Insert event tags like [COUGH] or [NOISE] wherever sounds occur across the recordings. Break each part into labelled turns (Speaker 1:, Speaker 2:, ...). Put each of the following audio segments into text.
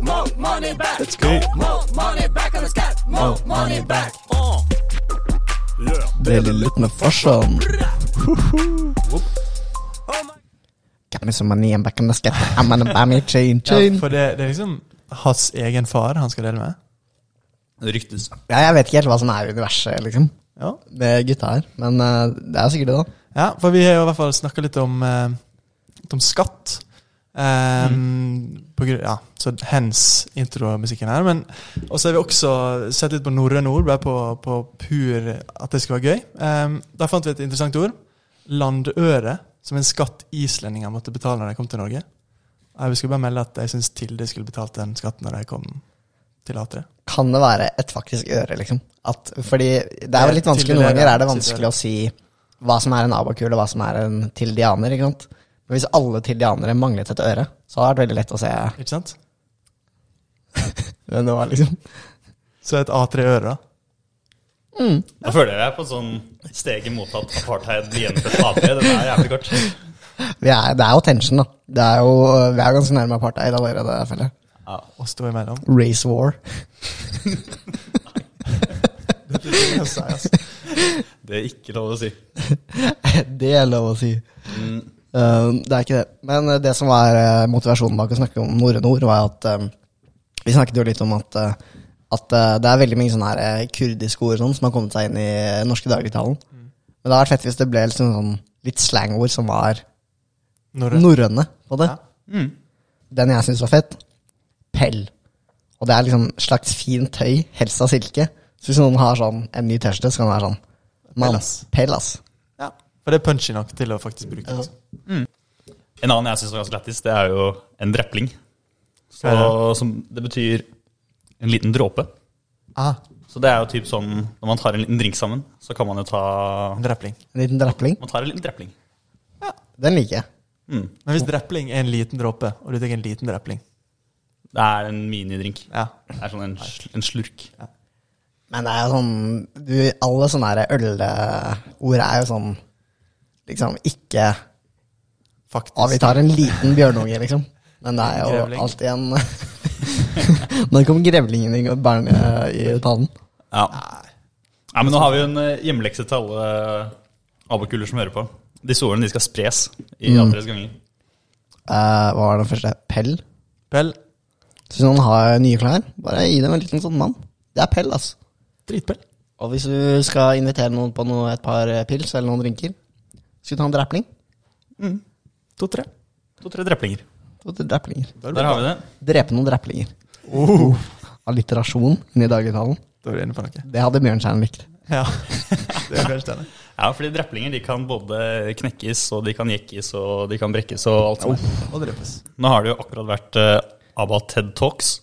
Speaker 1: more money back.
Speaker 2: Let's go.
Speaker 1: More money back on the scat. More money back. Uh.
Speaker 2: Dele litt med farsan. Got me some money, I'm back on the skate. I'm gonna buy me a chain,
Speaker 3: Ja,
Speaker 2: chain.
Speaker 3: for det, det er liksom hans egen far han skal dele med.
Speaker 1: Det ryktes.
Speaker 2: Ja, jeg vet ikke helt hva som er universet, liksom.
Speaker 3: Ja,
Speaker 2: Det er gutta her. Men eh, det er sikkert det, da.
Speaker 3: ja for vi har jo i hvert fall snakka litt om, eh, litt om skatt. Eh, på grunn, ja, så hens intromusikken her. Men og så har vi også sett litt på norrøne ord, bare på, på pur at det skulle være gøy. Eh, da fant vi et interessant ord. Landøre, som en skatt islendinger måtte betale når de kom til Norge. Jeg vi skulle bare melde at jeg syns Tilde skulle betalt den skatten når de kom til A3.
Speaker 2: Kan det være et faktisk øre, liksom? At, fordi det er jo litt vanskelig
Speaker 3: Til
Speaker 2: noen ganger.
Speaker 3: dere,
Speaker 2: er det
Speaker 3: sier
Speaker 2: vanskelig
Speaker 3: dere.
Speaker 2: å si hva som er en abakur, og hva som er en tildianer, ikke sant? Men hvis alle tildianere manglet et øre, så hadde det vært veldig lett å se
Speaker 3: Ikke sant?
Speaker 2: hvem det var, liksom.
Speaker 3: Så et A3-øre, da.
Speaker 4: Da føler jeg jeg er på sånn steget mot at apartheid blir gjennomført på AP. Det er jævlig godt.
Speaker 2: Vi er, det er jo tension, da. Det er jo, vi er ganske nærme apartheid allerede, føler jeg.
Speaker 3: Å stå imellom.
Speaker 2: Race war. [LAUGHS]
Speaker 4: Det er ikke lov å si.
Speaker 2: det er lov å si.
Speaker 4: Mm.
Speaker 2: Um, det er ikke det. Men eh, det som var eh, motivasjonen bak å snakke om norrøne ord, var at um, vi snakket jo litt om at, eh, at eh, det er veldig mange sånne her eh, kurdiske ord og sånn, som har kommet seg inn i eh, norske dagligtalen.
Speaker 3: Mm.
Speaker 2: Men det hadde vært fett hvis det ble litt sånn, sånn litt slangord som var
Speaker 3: Når
Speaker 2: norrøne på det.
Speaker 3: Ja.
Speaker 2: Den jeg syns var fett, pell. Og det er liksom slags fint tøy, helst av silke. Så hvis noen har sånn en ny T-skjorte, så kan det være sånn
Speaker 3: Pell,
Speaker 2: Mann,
Speaker 3: ass.
Speaker 2: pell, ass.
Speaker 3: Ja. For det er punchy nok til å faktisk bruke det. altså.
Speaker 4: En annen jeg syns var ganske lættis, det er jo en drepling. Så,
Speaker 3: Hva
Speaker 4: som, det betyr en liten dråpe.
Speaker 3: Ah,
Speaker 4: Så det er jo typ sånn når man tar en liten drink sammen, så kan man jo ta
Speaker 3: en drepling.
Speaker 2: En liten drepling.
Speaker 4: Man tar en liten drepling.
Speaker 2: Den liker jeg.
Speaker 4: Mm.
Speaker 3: Men hvis drepling er en liten dråpe, og du tar en liten drepling
Speaker 4: Det er en minidrink.
Speaker 3: Ja.
Speaker 4: Det er sånn en, sl- en slurk.
Speaker 2: Men det er jo sånn du, Alle sånne her ølord er jo sånn Liksom ikke Å,
Speaker 3: Faktisk.
Speaker 2: vi tar en liten bjørnunge, liksom. Men det er jo
Speaker 3: Grevling.
Speaker 2: alltid en [LAUGHS] Når kom grevlingen i, barne, i tannen?
Speaker 4: Ja. Nei, men nå har vi jo en eh, hjemmelekse til alle abakuler som hører på. Disse ordene de skal spres i A3s ganger.
Speaker 2: Eh, hva var den første? Pell?
Speaker 3: Pell.
Speaker 2: Så hvis noen har nye klær, bare gi dem en liten sånn mann. Det er pell, altså.
Speaker 3: Dritpell.
Speaker 2: Og hvis du skal invitere noen på noe, et par eh, pils eller noen drinker, skal du ta en drepling.
Speaker 4: Mm.
Speaker 3: To-tre.
Speaker 4: To-tre dreplinger.
Speaker 2: To til dreplinger.
Speaker 4: Der har vi det.
Speaker 2: Drepe noen dreplinger.
Speaker 3: Oh.
Speaker 2: Alliterasjon inni dagligtalen.
Speaker 3: Da var du inne på noe.
Speaker 2: Det hadde Bjørnstjerne likt.
Speaker 3: Ja. [LAUGHS] Det er kanskje denne.
Speaker 4: Ja, fordi dreplinger de kan både knekkes, og de kan jekkes, og de kan brekkes, og alt sånt.
Speaker 3: Og drepes.
Speaker 4: Nå har det jo akkurat vært eh, ABBA TED Talks.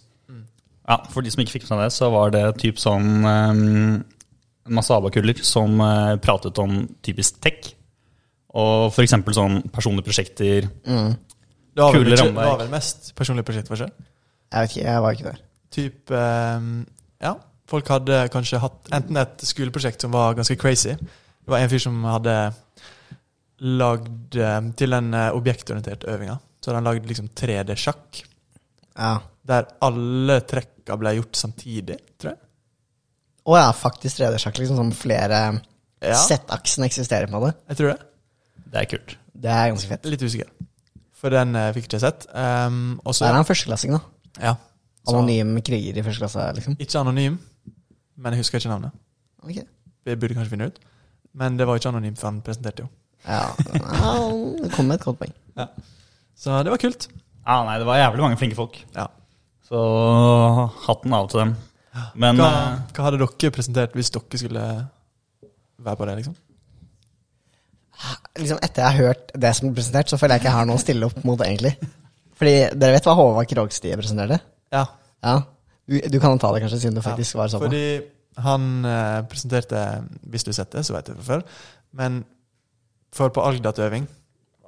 Speaker 4: Ja, For de som ikke fikk med seg det, så var det typ sånn eh, En masse ABBA-kuller som eh, pratet om typisk tech. Og f.eks. sånn personlige prosjekter.
Speaker 3: Det var vel,
Speaker 4: Kule
Speaker 3: ikke, det
Speaker 4: rammeverk.
Speaker 3: var vel mest personlig prosjekt for seg.
Speaker 2: Jeg vet ikke, jeg var ikke der.
Speaker 3: Typ ehm, Ja, folk hadde kanskje hatt enten et skoleprosjekt som var ganske crazy. Det var en fyr som hadde lagd ehm, til en eh, objektorientert øving. da. Så hadde han lagd liksom 3D-sjakk,
Speaker 2: Ja.
Speaker 3: der alle trekka ble gjort samtidig, tror jeg.
Speaker 2: Å ja, faktisk 3D-sjakk. Liksom sånn flere
Speaker 3: Ja.
Speaker 2: Z-aksen eksisterer på det.
Speaker 3: Jeg tror det.
Speaker 4: Det er kult.
Speaker 2: Det er ganske fett.
Speaker 3: Litt usikker. For den eh, fikk ikke jeg sett. Ehm, og
Speaker 2: Så
Speaker 3: så
Speaker 2: er han førsteklassing, da.
Speaker 3: ja. Så-
Speaker 2: Anonym kriger i første klasse, liksom.
Speaker 3: Ikke anonym, men jeg husker ikke navnet.
Speaker 2: Ok.
Speaker 3: Vi burde kanskje finne ut. Men det var ikke anonymt, for han presenterte jo. [LAUGHS]
Speaker 2: Ja, ja det kom med et godt poeng.
Speaker 3: Så det var kult.
Speaker 4: Ja, Ah, nei, det var jævlig mange flinke folk.
Speaker 3: Ja.
Speaker 4: Så hatten av til dem. Men
Speaker 3: Hva,
Speaker 4: eh,
Speaker 3: hva hadde dere presentert hvis dere skulle være på det, liksom?
Speaker 2: Liksom Etter jeg har hørt det som blir presentert, så føler jeg ikke jeg har noe å stille opp mot, egentlig. Fordi dere vet hva Håvard Krogstie presenterte?
Speaker 3: Ja.
Speaker 2: Ja. Du, du kan ta det, kanskje, siden du faktisk var sammen.
Speaker 3: Fordi han eh, presenterte Hvis du har sett det, så vet du det fra før. Men for på Algdat-øving,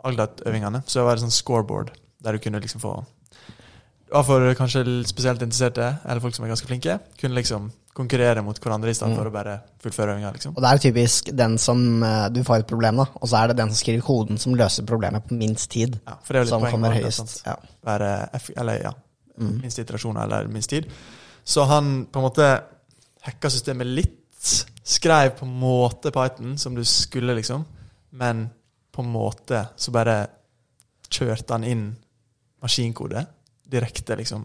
Speaker 3: Algdat-øvingene, så var det sånn scoreboard der du kunne liksom få ja, For kanskje spesielt interesserte, eller folk som er ganske flinke, kunne liksom konkurrere mot hverandre i stedet for å bare fullføre øvinga, liksom.
Speaker 2: Mm. Og det er typisk den som eh, Du får et problem, da, og så er det den som skriver koden, som løser problemet på minst tid.
Speaker 3: Ja, for det er jo litt
Speaker 2: som
Speaker 3: poeng
Speaker 2: kommer
Speaker 3: med det,
Speaker 2: høyest.
Speaker 3: sant?
Speaker 2: Ja.
Speaker 3: Være eff eller, ja, minst iterasjon eller minst tid. Så han på en måte hacka systemet litt. Skrev på en måte Python som du skulle, liksom. Men på en måte så bare kjørte han inn maskinkode direkte, liksom,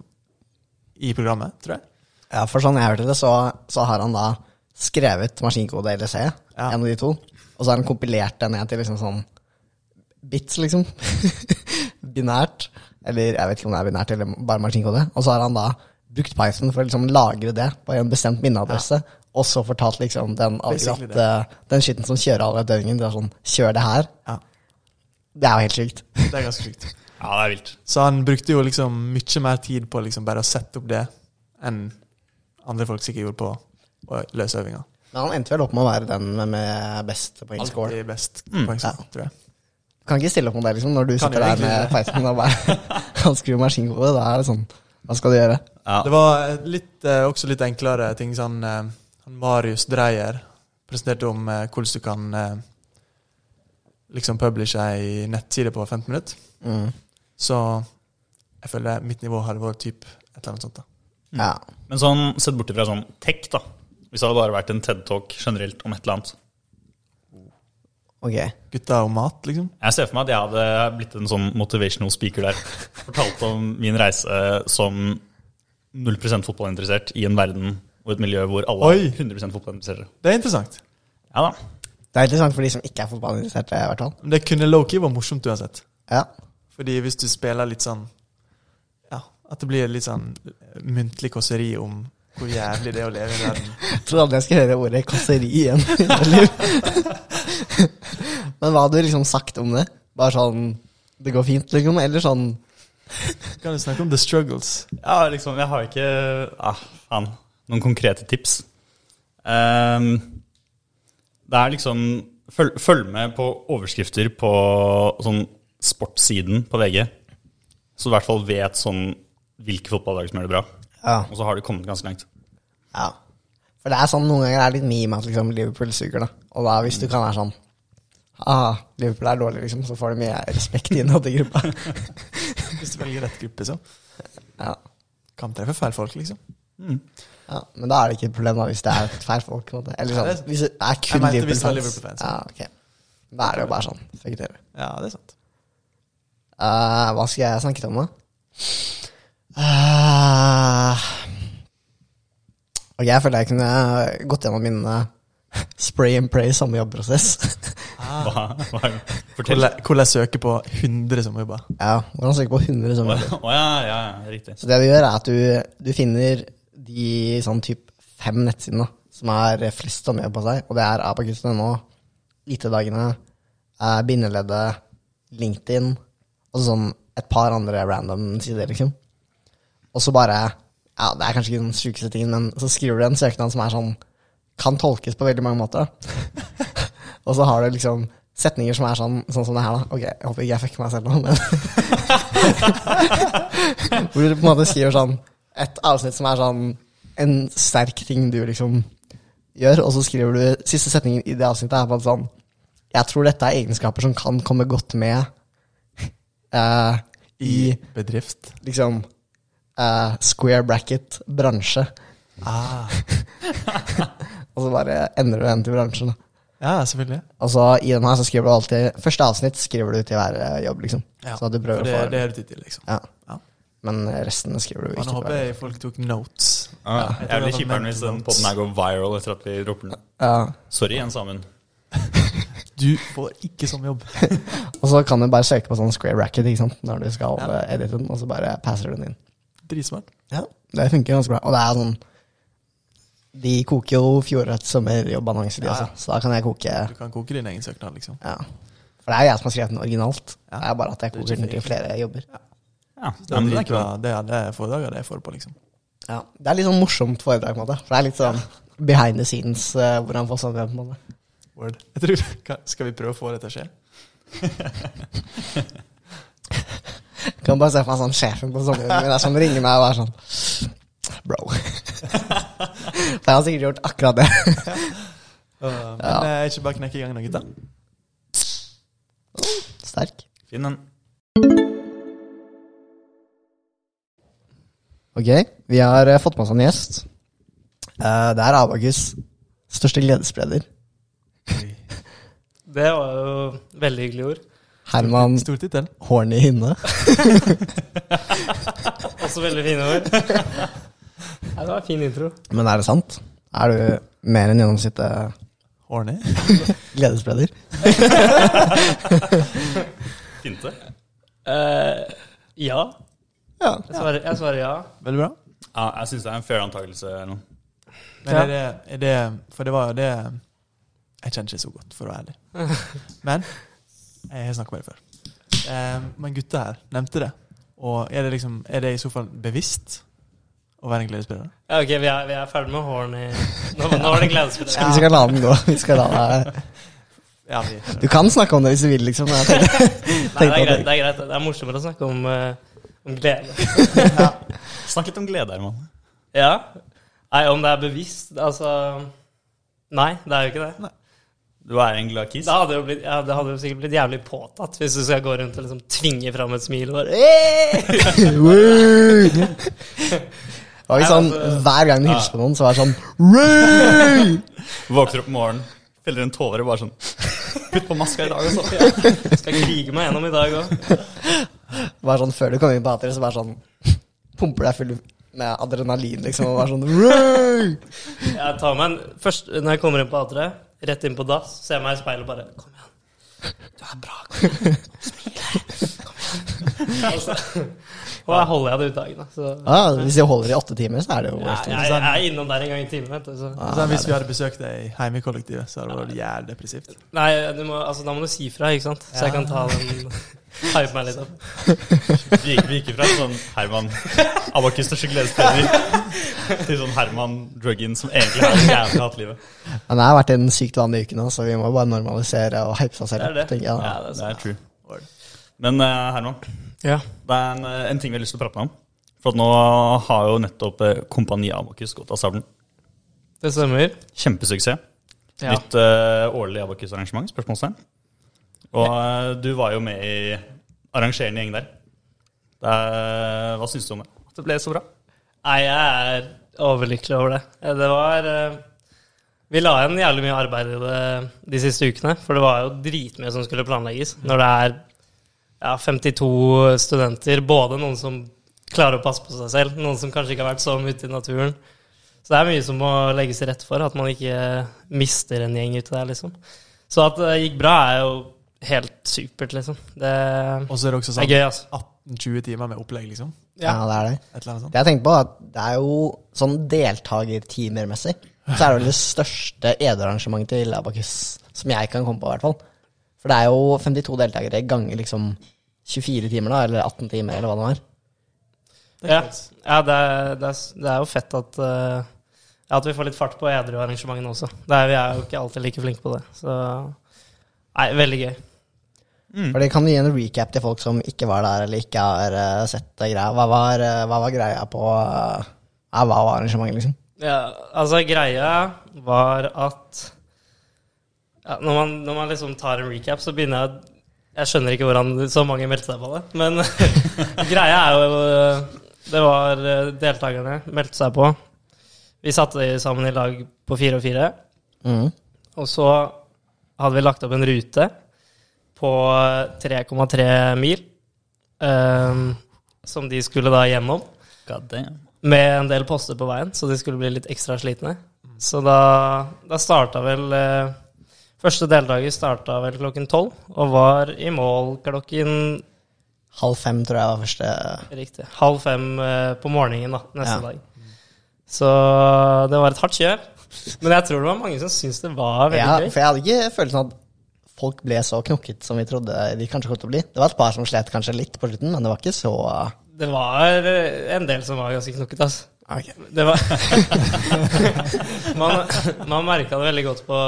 Speaker 3: i programmet, tror jeg.
Speaker 2: Ja, for sånn jeg hørte det, så, så har han da skrevet maskinkode LC,
Speaker 3: Ja.
Speaker 2: en av de to, og så har han kompilert det ned til liksom sånn bits, liksom. [LAUGHS] binært. Eller jeg vet ikke om det er binært eller bare maskinkode. Og så har han da brukt Python for å liksom lagre det på en bestemt minneadresse, og så fortalt liksom den
Speaker 3: Basically
Speaker 2: algoritmen, eh, den skitten som kjører alle døgnet, det er sånn, kjør det her.
Speaker 3: Ja.
Speaker 2: Det er jo helt sykt.
Speaker 3: Det er ganske sjukt.
Speaker 4: Ja, det er vilt.
Speaker 3: Så han brukte jo liksom mye mer tid på liksom bare å sette opp det enn andre folk sikkert gjorde på å løse øvinga.
Speaker 2: [LAUGHS] Men han endte vel opp med å være den med- med best poengscore.
Speaker 3: Alltid best
Speaker 4: Mm.
Speaker 3: poeng,
Speaker 2: Ja.
Speaker 3: tror jeg.
Speaker 2: kan ikke stille opp mot det liksom, når du
Speaker 3: Kan
Speaker 2: sitter
Speaker 3: jo
Speaker 2: der med Python og bare [LAUGHS] Han skriver maskinkode. Da er det sånn Hva skal du gjøre?
Speaker 4: Ja.
Speaker 3: Det var et litt, eh, også litt enklere ting. Sånn, eh, han Marius Dreyer presenterte om eh, hvordan du kan eh, liksom publishe ei nettside på 15 minutter.
Speaker 2: Mm.
Speaker 3: Så jeg føler mitt nivå hadde vært typ et eller annet sånt. da.
Speaker 2: Ja.
Speaker 4: Men sånn, sett bort fra sånn tech, da. Hvis det hadde bare vært en TED-talk generelt om et eller annet.
Speaker 2: Ok.
Speaker 3: Gutta og mat, liksom.
Speaker 4: Jeg ser for meg at jeg hadde blitt en sånn motivational speaker der. Fortalt om min reise som 0 fotballinteressert i en verden og et miljø hvor alle
Speaker 3: Oi!
Speaker 4: er 100 fotballinteresserte.
Speaker 3: Det er interessant.
Speaker 4: Ja da.
Speaker 2: Det er interessant for de som ikke er fotballinteresserte, i hvert fall.
Speaker 3: Men det kunne low-key vært morsomt uansett.
Speaker 2: Ja.
Speaker 3: Fordi hvis du spiller litt sånn Ja, at det blir litt sånn muntlig kåseri om hvor jævlig det er å leve i verden.
Speaker 2: Jeg trodde aldri jeg skulle høre ordet kåseri igjen. i mitt liv. [LAUGHS] Men hva hadde du liksom sagt om det? Bare sånn Det går fint, liksom? Eller sånn
Speaker 3: Kan du snakke om the struggles?
Speaker 4: Ja, liksom, jeg har ikke ah, faen, noen konkrete tips. Ehm, det er liksom følg, følg med på overskrifter på sånn sportssiden på VG, så du i hvert fall vet sånn hvilke fotballag som gjør det bra.
Speaker 2: Ja.
Speaker 4: Og så har du kommet ganske langt.
Speaker 2: ja. For det er sånn noen ganger er det litt meme at liksom Liverpool suger, da. Og da hvis du kan være sånn Ah, Liverpool er dårlig, liksom, så får du mye respekt innad i gruppa. [LAUGHS]
Speaker 3: Hvis du velger rett gruppe, så.
Speaker 2: Ja.
Speaker 3: Kan treffe feil folk, liksom.
Speaker 2: Ja, men da er det ikke et problem da, hvis det er feil folk. på en måte. Eller
Speaker 3: Nei,
Speaker 2: sånn,
Speaker 3: det-
Speaker 2: hvis det er
Speaker 3: Jeg
Speaker 2: kun
Speaker 3: mente hvis det er
Speaker 2: Liverpool-fans.
Speaker 3: Liverpool-fans,
Speaker 2: ja, ok. Da er det jo bare sånn. Fuck dere.
Speaker 3: Ja, det er sant.
Speaker 2: Eh, hva skal jeg snakke om, da? Eh, ok, jeg føler jeg kunne gått gjennom min eh, spray and pray samme jobbprosess. [LAUGHS]
Speaker 4: Hva, hva, fortell. Ah. Å
Speaker 3: Hvordan hvordan jeg søker på 100 som jobber.
Speaker 2: ja, Hvordan søke på 100 som jobber?
Speaker 4: ja, ja, ja, riktig.
Speaker 2: Så det du gjør, er at du, du finner de sånn typ fem nettsidene da, som er flest som gjør på seg, og det er abakus.no, IT-dagene, eh, bindeleddet, LinkedIn, og sånn et par andre random sider, liksom. Og så bare, ja, det er kanskje ikke den sykeste tingen, men så skriver du en søknad som er sånn, kan tolkes på veldig mange måter. [LAUGHS] og så har du liksom setninger som er sånn, sånn som det her da. Ok, jeg håper ikke jeg fucker meg selv nå, men... Hvor du på en måte skriver sånn Et avsnitt som er sånn En sterk ting du liksom gjør, og så skriver du Siste setningen i det avsnittet er på en sånn Jeg tror dette er egenskaper som kan komme godt med eh, I
Speaker 3: I bedrift.
Speaker 2: liksom eh, square bracket bransje.
Speaker 3: Ah.
Speaker 2: Og så bare endrer du den til bransjen. da.
Speaker 3: Ja, selvfølgelig.
Speaker 2: Og så i den her så skriver du alltid Første avsnitt skriver du til hver eh, jobb, liksom.
Speaker 3: Ja.
Speaker 2: Så at du prøver
Speaker 3: For det,
Speaker 2: å få
Speaker 3: det er du tid til, liksom.
Speaker 2: ja.
Speaker 3: Ja.
Speaker 2: Men resten skriver du
Speaker 3: Og
Speaker 2: ikke.
Speaker 3: nå
Speaker 2: til
Speaker 3: håper
Speaker 2: hver-
Speaker 3: jeg folk tok notes.
Speaker 4: Ja, jeg
Speaker 3: Jeg tror
Speaker 4: blir
Speaker 3: det var
Speaker 4: kjipere hvis den
Speaker 3: mental
Speaker 4: podden her går viral etter at vi roper den.
Speaker 2: Ja.
Speaker 4: Sorry, Jens Amund.
Speaker 3: Du får ikke som
Speaker 2: [LAUGHS]
Speaker 3: jobb.
Speaker 2: Og så kan du bare søke på sånn square racket ikke sant? når du skal
Speaker 3: Ja.
Speaker 2: eh, edite den, og så bare passer du den inn.
Speaker 3: Dritsmart.
Speaker 2: Ja, Det funker ganske bra. Og det er sånn De koker jo fjorårets sommerjobbannonser, de
Speaker 3: Ja, ja.
Speaker 2: også, så da kan jeg koke
Speaker 3: Du kan koke din egen søknad, liksom.
Speaker 2: Ja. For det er jo jeg som har skrevet den originalt.
Speaker 3: Ja.
Speaker 2: Det er bare at jeg
Speaker 3: Det er
Speaker 2: koker den
Speaker 3: ikke
Speaker 2: til flere jobber.
Speaker 4: Ja,
Speaker 3: Det
Speaker 4: men
Speaker 3: er,
Speaker 4: det er
Speaker 3: dritbra.
Speaker 4: ikke
Speaker 3: det er det foredraget det jeg får på, liksom.
Speaker 2: Ja. Det er litt sånn morsomt foredrag, på en måte. For det er litt sånn behind the scenes eh, hvordan få sånn jobb, på en måte.
Speaker 3: Word. Jeg tror, Ka- skal vi prøve å få det til å skje?
Speaker 2: Kan bare se for meg sånn sjefen på sommerjobben min der som ringer meg og er sånn Bro. [LAUGHS] For jeg har sikkert gjort akkurat det.
Speaker 3: Uh, men
Speaker 2: Ja.
Speaker 3: eh, jeg er ikke bare å knekke i gang nå, gutta.
Speaker 2: Sterk.
Speaker 4: Finn den.
Speaker 2: Ok, vi har eh, fått med oss en gjest. Eh, det er Abakus største gledesspreder.
Speaker 5: Det var jo veldig hyggelige ord.
Speaker 2: Herman
Speaker 3: Stor tittel.
Speaker 2: Horny Hinne.
Speaker 5: Også veldig fine ord. Ja, det var en fin intro.
Speaker 2: Men er det sant? Er du mer enn gjennomsnittet
Speaker 3: Horny.
Speaker 2: gledesspreder?
Speaker 4: Finte.
Speaker 5: Eh, ja.
Speaker 2: Ja.
Speaker 5: Jeg svarer, jeg svarer ja.
Speaker 3: Veldig bra.
Speaker 4: Ja, jeg syns det er en fair antakelse. eller noe.
Speaker 3: Men
Speaker 5: Ja.
Speaker 3: er, det, er det For det var jo det Jeg kjenner ikke så godt, for å
Speaker 5: [LAUGHS]
Speaker 3: være ærlig. Men jeg har snakket med det før. Eh, men gutta her nevnte det. Og er det liksom Er det i så fall bevisst å være en gledesspiller?
Speaker 5: ja ok, vi er, vi er ferdig med hårene. i- Nå, nå er det gledesspill.
Speaker 2: Vi skal la den gå. Vi skal la deg.
Speaker 3: Ja, vi
Speaker 2: Du kan snakke om det hvis du vil, liksom. men Jeg tenkte,
Speaker 5: Nei, det er
Speaker 2: tenkte
Speaker 5: greit.
Speaker 2: at
Speaker 5: Det er, greit. Det er morsommere å snakke om, eh, om glede.
Speaker 4: Snakk litt om glede, Herman.
Speaker 5: Ja. Nei, om det er bevisst Altså Nei, det er jo ikke det.
Speaker 4: Du er en glad kiss.
Speaker 5: Det hadde jo, blitt, ja, det hadde jo sikkert blitt jævlig påtatt hvis du skal gå rundt og liksom tvinge fram et smil og bare
Speaker 2: [LAUGHS]
Speaker 5: «Hey!»
Speaker 2: Woo! Det var jo sånn,
Speaker 5: Nei, altså-
Speaker 2: Hver gang du hilser på noen, så var det sånn Woo!
Speaker 4: Våkner opp om morgenen, feller en tåre bare sånn Putt på maska i dag, altså.
Speaker 5: Skal krige meg gjennom i dag òg.
Speaker 2: Bare sånn Før du kommer inn på atelieret, så bare sånn Pumper deg full med adrenalin, liksom. Og bare sånn Woo!
Speaker 5: Jeg tar meg en Først når jeg kommer inn på A3, rett inn på dass, ser jeg meg i speilet og bare Kom igjen. Du er bra. Kom igjen. Smil. Kom igjen. Og så- Og her holder jeg det ut dagen, da. Så
Speaker 2: Ja, hvis de holder i åtte timer, så er det jo
Speaker 5: jeg,
Speaker 2: helt
Speaker 5: jeg, jeg er innom der en gang i timen. Vet du, så.
Speaker 3: Så Sånn, hvis vi hadde besøkt deg hjemme i kollektivet, så hadde det vært jævlig depressivt.
Speaker 5: Nei, du må, altså, da må du si fra, ikke sant? Så jeg kan ta den Hype meg litt opp.
Speaker 4: Vi gikk, vi gikk fra en sånn Herman Abakus største gledespremier til sånn Herman Druggin som egentlig har et jævlig hatt livet.
Speaker 2: Men det har vært en sykt vanlig uke nå, så vi må bare normalisere og hype seg
Speaker 5: Det
Speaker 2: selv
Speaker 5: er
Speaker 2: opp,
Speaker 5: det.
Speaker 2: tenker jeg. da.
Speaker 5: det er
Speaker 4: Det er
Speaker 5: sant.
Speaker 4: true. Men eh, Herman,
Speaker 5: Ja.
Speaker 4: det er en, eh, en ting vi har lyst til å prate med om. For at nå har jo nettopp eh, Kompani Abakus gått av stabelen.
Speaker 5: Det stemmer.
Speaker 4: Kjempesuksess.
Speaker 5: Ja.
Speaker 4: Nytt eh, årlig Abakus-arrangement? Spørsmålstegn. Og eh, du var jo med i arrangerende gjeng der. Det er, hva syns du om det? At det ble så bra?
Speaker 5: Nei, jeg er overlykkelig over det. Eh, Det var eh, Vi la igjen jævlig mye arbeid i det de siste ukene, for det var jo dritmye som skulle planlegges. Når det er ja, 52 studenter, både noen som klarer å passe på seg selv, noen som kanskje ikke har vært så mye ute i naturen. Så det er mye som må legges til rette for, at man ikke mister en gjeng ute der, liksom. Så at det gikk bra, er jo helt supert, liksom. Det
Speaker 3: Og så er det også
Speaker 5: er
Speaker 3: sånn
Speaker 5: gøy, altså.
Speaker 3: 18-20 timer med opplegg, liksom.
Speaker 2: Ja, det er det.
Speaker 3: Et eller annet sånt.
Speaker 2: Det jeg tenker på, er at det er jo sånn deltakertimermessig, så er det vel det største ederarrangementet til Abakus som jeg kan komme på, i hvert fall. For det er jo 52 deltakere ganger liksom 24 timer, da, eller 18 timer, eller hva det var.
Speaker 5: Ja, ja det, er, det, er, det er jo fett at, eh, at vi får litt fart på edru-arrangementene også. Det er, vi er jo ikke alltid like flinke på det. Så Nei, veldig gøy. Mm.
Speaker 2: For det kan du gi en recap til folk som ikke var der, eller ikke har eh, sett det greia. Hva var, eh, hva var greia på eh, ja, Hva var arrangementet, liksom?
Speaker 5: Ja, altså, greia var at ja, når, man, når man liksom tar en recap, så begynner jeg å- Jeg skjønner ikke hvordan så mange meldte seg på det, men [LAUGHS] greia er jo eh, Det var eh, deltakerne meldte seg på. Vi satte sammen i lag på fire og fire.
Speaker 2: Mm.
Speaker 5: Og så hadde vi lagt opp en rute på 3,3 mil, ehm, som de skulle da gjennom,
Speaker 4: God damn.
Speaker 5: med en del poster på veien, så de skulle bli litt ekstra slitne. Så da, da starta vel eh, Første deltaker starta vel klokken tolv, og var i mål klokken
Speaker 2: Halv fem, tror jeg var første
Speaker 5: riktig, halv fem eh, på morgenen da, neste
Speaker 2: Ja.
Speaker 5: dag. Så det var et hardt kjør. Men jeg tror det var mange som syntes det var veldig
Speaker 2: ja,
Speaker 5: gøy.
Speaker 2: For jeg hadde ikke følelsen av at folk ble så knokket som vi trodde de kanskje kom til å bli. Det var et par som slet kanskje litt på slutten, men det var ikke så
Speaker 5: Det var eh, en del som var ganske knokkete, altså.
Speaker 2: Ok.
Speaker 5: Det var [LAUGHS] Man, man merka det veldig godt på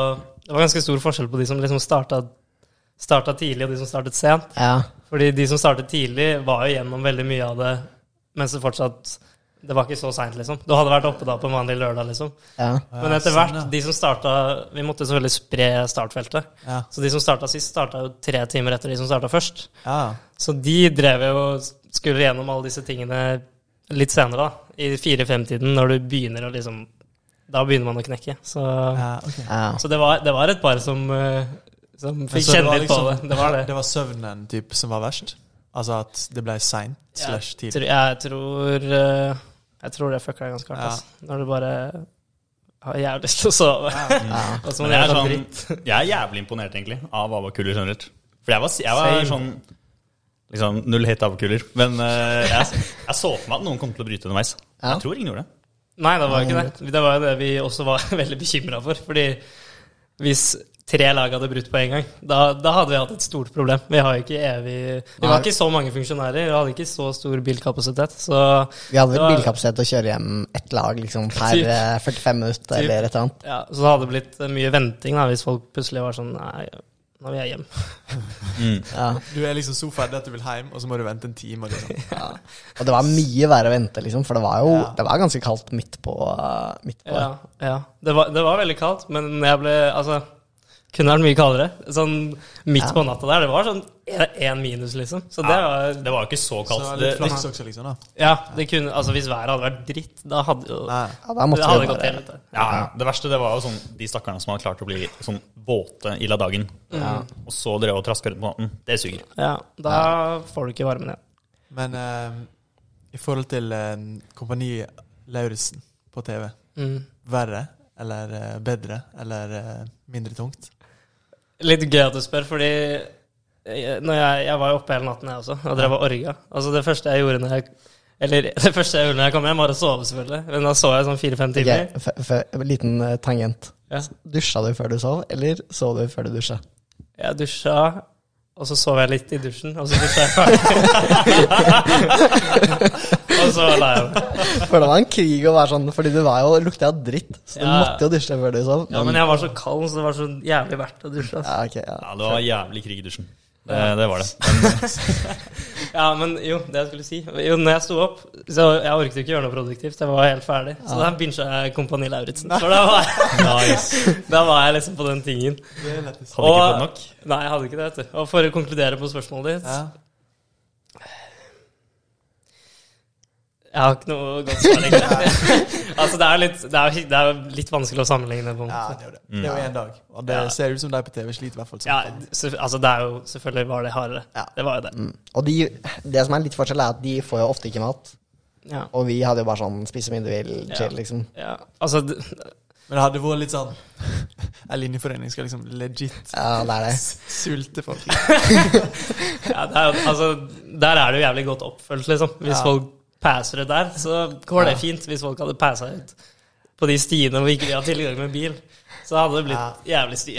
Speaker 5: Det var ganske stor forskjell på de som liksom starta, starta tidlig, og de som startet sent.
Speaker 2: Ja.
Speaker 5: Fordi de som startet tidlig, var jo gjennom veldig mye av det mens det fortsatt Det var ikke så seint, liksom. Du hadde vært oppe da på en vanlig lørdag, liksom.
Speaker 2: ja.
Speaker 5: Men etter hvert, de som starta Vi måtte selvfølgelig spre startfeltet.
Speaker 3: Ja.
Speaker 5: Så de som starta sist, starta jo tre timer etter de som starta først.
Speaker 3: Ja.
Speaker 5: Så de drev jo og skulle gjennom alle disse tingene litt senere, da, i fire-fem-tiden, når du begynner å liksom Da begynner man å knekke. Så,
Speaker 3: Ja, ok.
Speaker 2: Ja.
Speaker 5: så det, var, det var et par som, eh, som
Speaker 3: Men
Speaker 5: fikk
Speaker 3: så det
Speaker 5: kjenne
Speaker 3: var
Speaker 5: litt på
Speaker 3: liksom-
Speaker 5: det. Det var det.
Speaker 3: [LAUGHS] Det var søvnen typ, som var verst? Altså at det ble seint
Speaker 5: Ja,
Speaker 3: slash tidlig?
Speaker 5: Tror- Jeg tror eh, Jeg tror det fucker deg ganske hardt.
Speaker 3: Ja.
Speaker 5: ass. Når du bare har jævlig lyst til å sove. [LAUGHS] Og så må
Speaker 4: Men jeg,
Speaker 5: du
Speaker 4: er
Speaker 5: gjøre sånn dritt.
Speaker 4: sånn, [LAUGHS] jeg er jævlig imponert, egentlig, av ABBA-kuler generelt. For jeg var, jeg var
Speaker 5: Same.
Speaker 4: sånn liksom, Null hate ABBA-kuler. Men eh, jeg, jeg så for meg at noen kom til å bryte underveis.
Speaker 2: Ja.
Speaker 4: Jeg tror ingen gjorde det.
Speaker 5: Nei, det var jo ikke det. Det var jo det vi også var [LAUGHS] veldig bekymra for. Fordi hvis tre lag hadde brutt på en gang, da, da hadde vi hatt et stort problem. Vi har jo ikke evig Vi
Speaker 2: Nei.
Speaker 5: var ikke så mange funksjonærer, vi hadde ikke så stor bilkapasitet. Så
Speaker 2: Vi hadde vel
Speaker 5: Ja.
Speaker 2: bilkapasitet til å kjøre hjem ett lag liksom, per
Speaker 5: Typ.
Speaker 2: eh, 45 minutter
Speaker 5: Typ.
Speaker 2: eller et eller annet.
Speaker 5: ja, så det hadde blitt mye venting da, hvis folk plutselig var sånn Nei, nå vil jeg hjem.
Speaker 2: Ja.
Speaker 3: Du er liksom så ferdig at du vil hjem, og så må du vente en time. og Liksom.
Speaker 2: Og det var mye verre å vente, liksom, for det var jo
Speaker 3: Ja.
Speaker 2: det var ganske kaldt midt på. eh, Midt på.
Speaker 5: Ja, ja. Det, var, det var veldig kaldt, men jeg ble Altså, kunne vært mye kaldere. Sånn midt
Speaker 2: Ja.
Speaker 5: på natta der, det var sånn én minus, liksom. Så det var
Speaker 4: Det var jo ikke så
Speaker 3: Så
Speaker 4: kaldt.
Speaker 3: litt
Speaker 4: det,
Speaker 3: flaks også, liksom. da
Speaker 5: Ja, det kunne, altså hvis været hadde vært dritt, da hadde jo
Speaker 3: Nei.
Speaker 2: Ja, da måtte
Speaker 5: det
Speaker 2: vi
Speaker 5: hadde
Speaker 2: jo
Speaker 5: gått
Speaker 2: bare-
Speaker 5: helt ut. da.
Speaker 4: ja, ja. det verste det var jo sånn de stakkarene som hadde klart å bli sånn våte i la dagen. mm, Og så drev og traska rundt på natten. Det suger.
Speaker 5: Ja, da får du ikke varmen igjen.
Speaker 3: Men eh, i forhold til eh, Kompani Lauritzen på TV,
Speaker 5: Mm.
Speaker 3: verre eller eh, bedre eller eh, mindre tungt?
Speaker 5: Litt gøy at du spør, fordi jeg, når jeg, jeg var jo oppe hele natten, jeg også, og drev og orga. Altså, det første jeg gjorde når jeg Eller [LAUGHS] det første jeg gjorde når jeg kom hjem, var å sove, selvfølgelig. Men da så jeg sånn fire-fem timer.
Speaker 2: Ok, f- f- liten eh, tangent.
Speaker 5: Ja.
Speaker 2: Dusja du før du sov, eller sov du før du dusja?
Speaker 5: Jeg dusja, og så sov jeg litt i dusjen, og så dusja jeg [LAUGHS] ferdig. og så la jeg meg.
Speaker 2: For det var en krig å være sånn, fordi du var jo lukta jo dritt. Så du
Speaker 5: Ja.
Speaker 2: måtte jo dusje før du sov.
Speaker 5: Ja, men jeg var så kald, så det var så jævlig verdt å dusje. Altså.
Speaker 2: ja, ok, ja.
Speaker 4: Ja, det var jævlig krig i dusjen. Det, det var det.
Speaker 5: Ja, men jo, det jeg skulle si Jo, når jeg sto opp, så jeg orket jo ikke gjøre noe produktivt. Jeg var helt ferdig. Så da begynte jeg Kompani Lauritzen. For da var,
Speaker 4: [LAUGHS]
Speaker 5: jeg, da var jeg liksom på den tingen.
Speaker 3: Det er lettest.
Speaker 4: Hadde ikke fått nok.
Speaker 5: Nei, jeg hadde ikke det, vet du. Og for å konkludere på spørsmålet ditt
Speaker 3: Ja.
Speaker 5: Jeg har ikke noe godt svar,
Speaker 4: [LAUGHS]
Speaker 5: egentlig. [LAUGHS] altså, det er, litt, det, er, det er litt vanskelig å sammenligne det på en
Speaker 3: ja,
Speaker 5: måte.
Speaker 3: det er jo det. Det er jo én dag. Og det
Speaker 5: Ja.
Speaker 3: ser ut som de på TV sliter, i hvert fall. sånn.
Speaker 5: Ja, selvfø- altså det er jo Selvfølgelig var det hardere.
Speaker 3: Ja.
Speaker 5: Det var jo det.
Speaker 4: Mm.
Speaker 2: Og de, det som er litt forskjell, er at de får jo ofte ikke mat.
Speaker 5: Ja.
Speaker 2: Og vi hadde jo bare sånn spise mye du vil,
Speaker 5: Ja.
Speaker 2: chill, liksom.
Speaker 5: ja. Altså d-
Speaker 3: Men det hadde vært litt sånn [LAUGHS] En linjeforening skal liksom legit
Speaker 2: Ja, det er det.
Speaker 3: sulte folk.
Speaker 5: ja, det er, jo- altså, Der er det jo jævlig godt oppfølgt, liksom. Hvis
Speaker 3: Ja.
Speaker 5: folk passer det der, så går det fint. Hvis folk hadde passa ut på de stiene hvor ikke vi har tilgang med bil, så hadde det blitt jævlig sti.